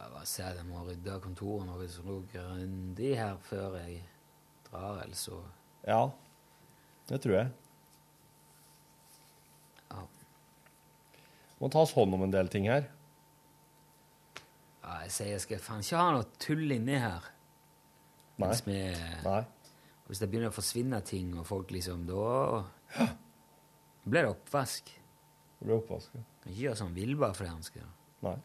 Speaker 3: Jeg bare ser at jeg må rydde kontoret noe som lå grundig her før jeg drar, ellers så
Speaker 5: Ja, det tror jeg. Må tas hånd om en del ting her.
Speaker 3: ja, Jeg sier jeg skal faen ikke ha noe tull inni her.
Speaker 5: Nei.
Speaker 3: Mens vi
Speaker 5: Nei.
Speaker 3: Hvis det begynner å forsvinne ting, og folk liksom Da blir det oppvask.
Speaker 5: Det blir oppvask, ja.
Speaker 3: Kan ikke gjøre sånn Vilbar for det han skal gjøre.
Speaker 5: Nei.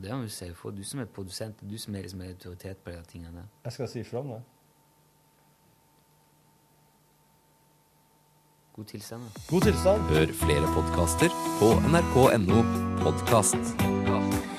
Speaker 3: Det må du si ifra. Du som er produsent, du som er liksom autoritet på de tingene der.
Speaker 5: Jeg skal si fra om det.
Speaker 3: God tilstand. da.
Speaker 5: God tilstand.
Speaker 15: Hør flere podkaster på nrk.no podkast.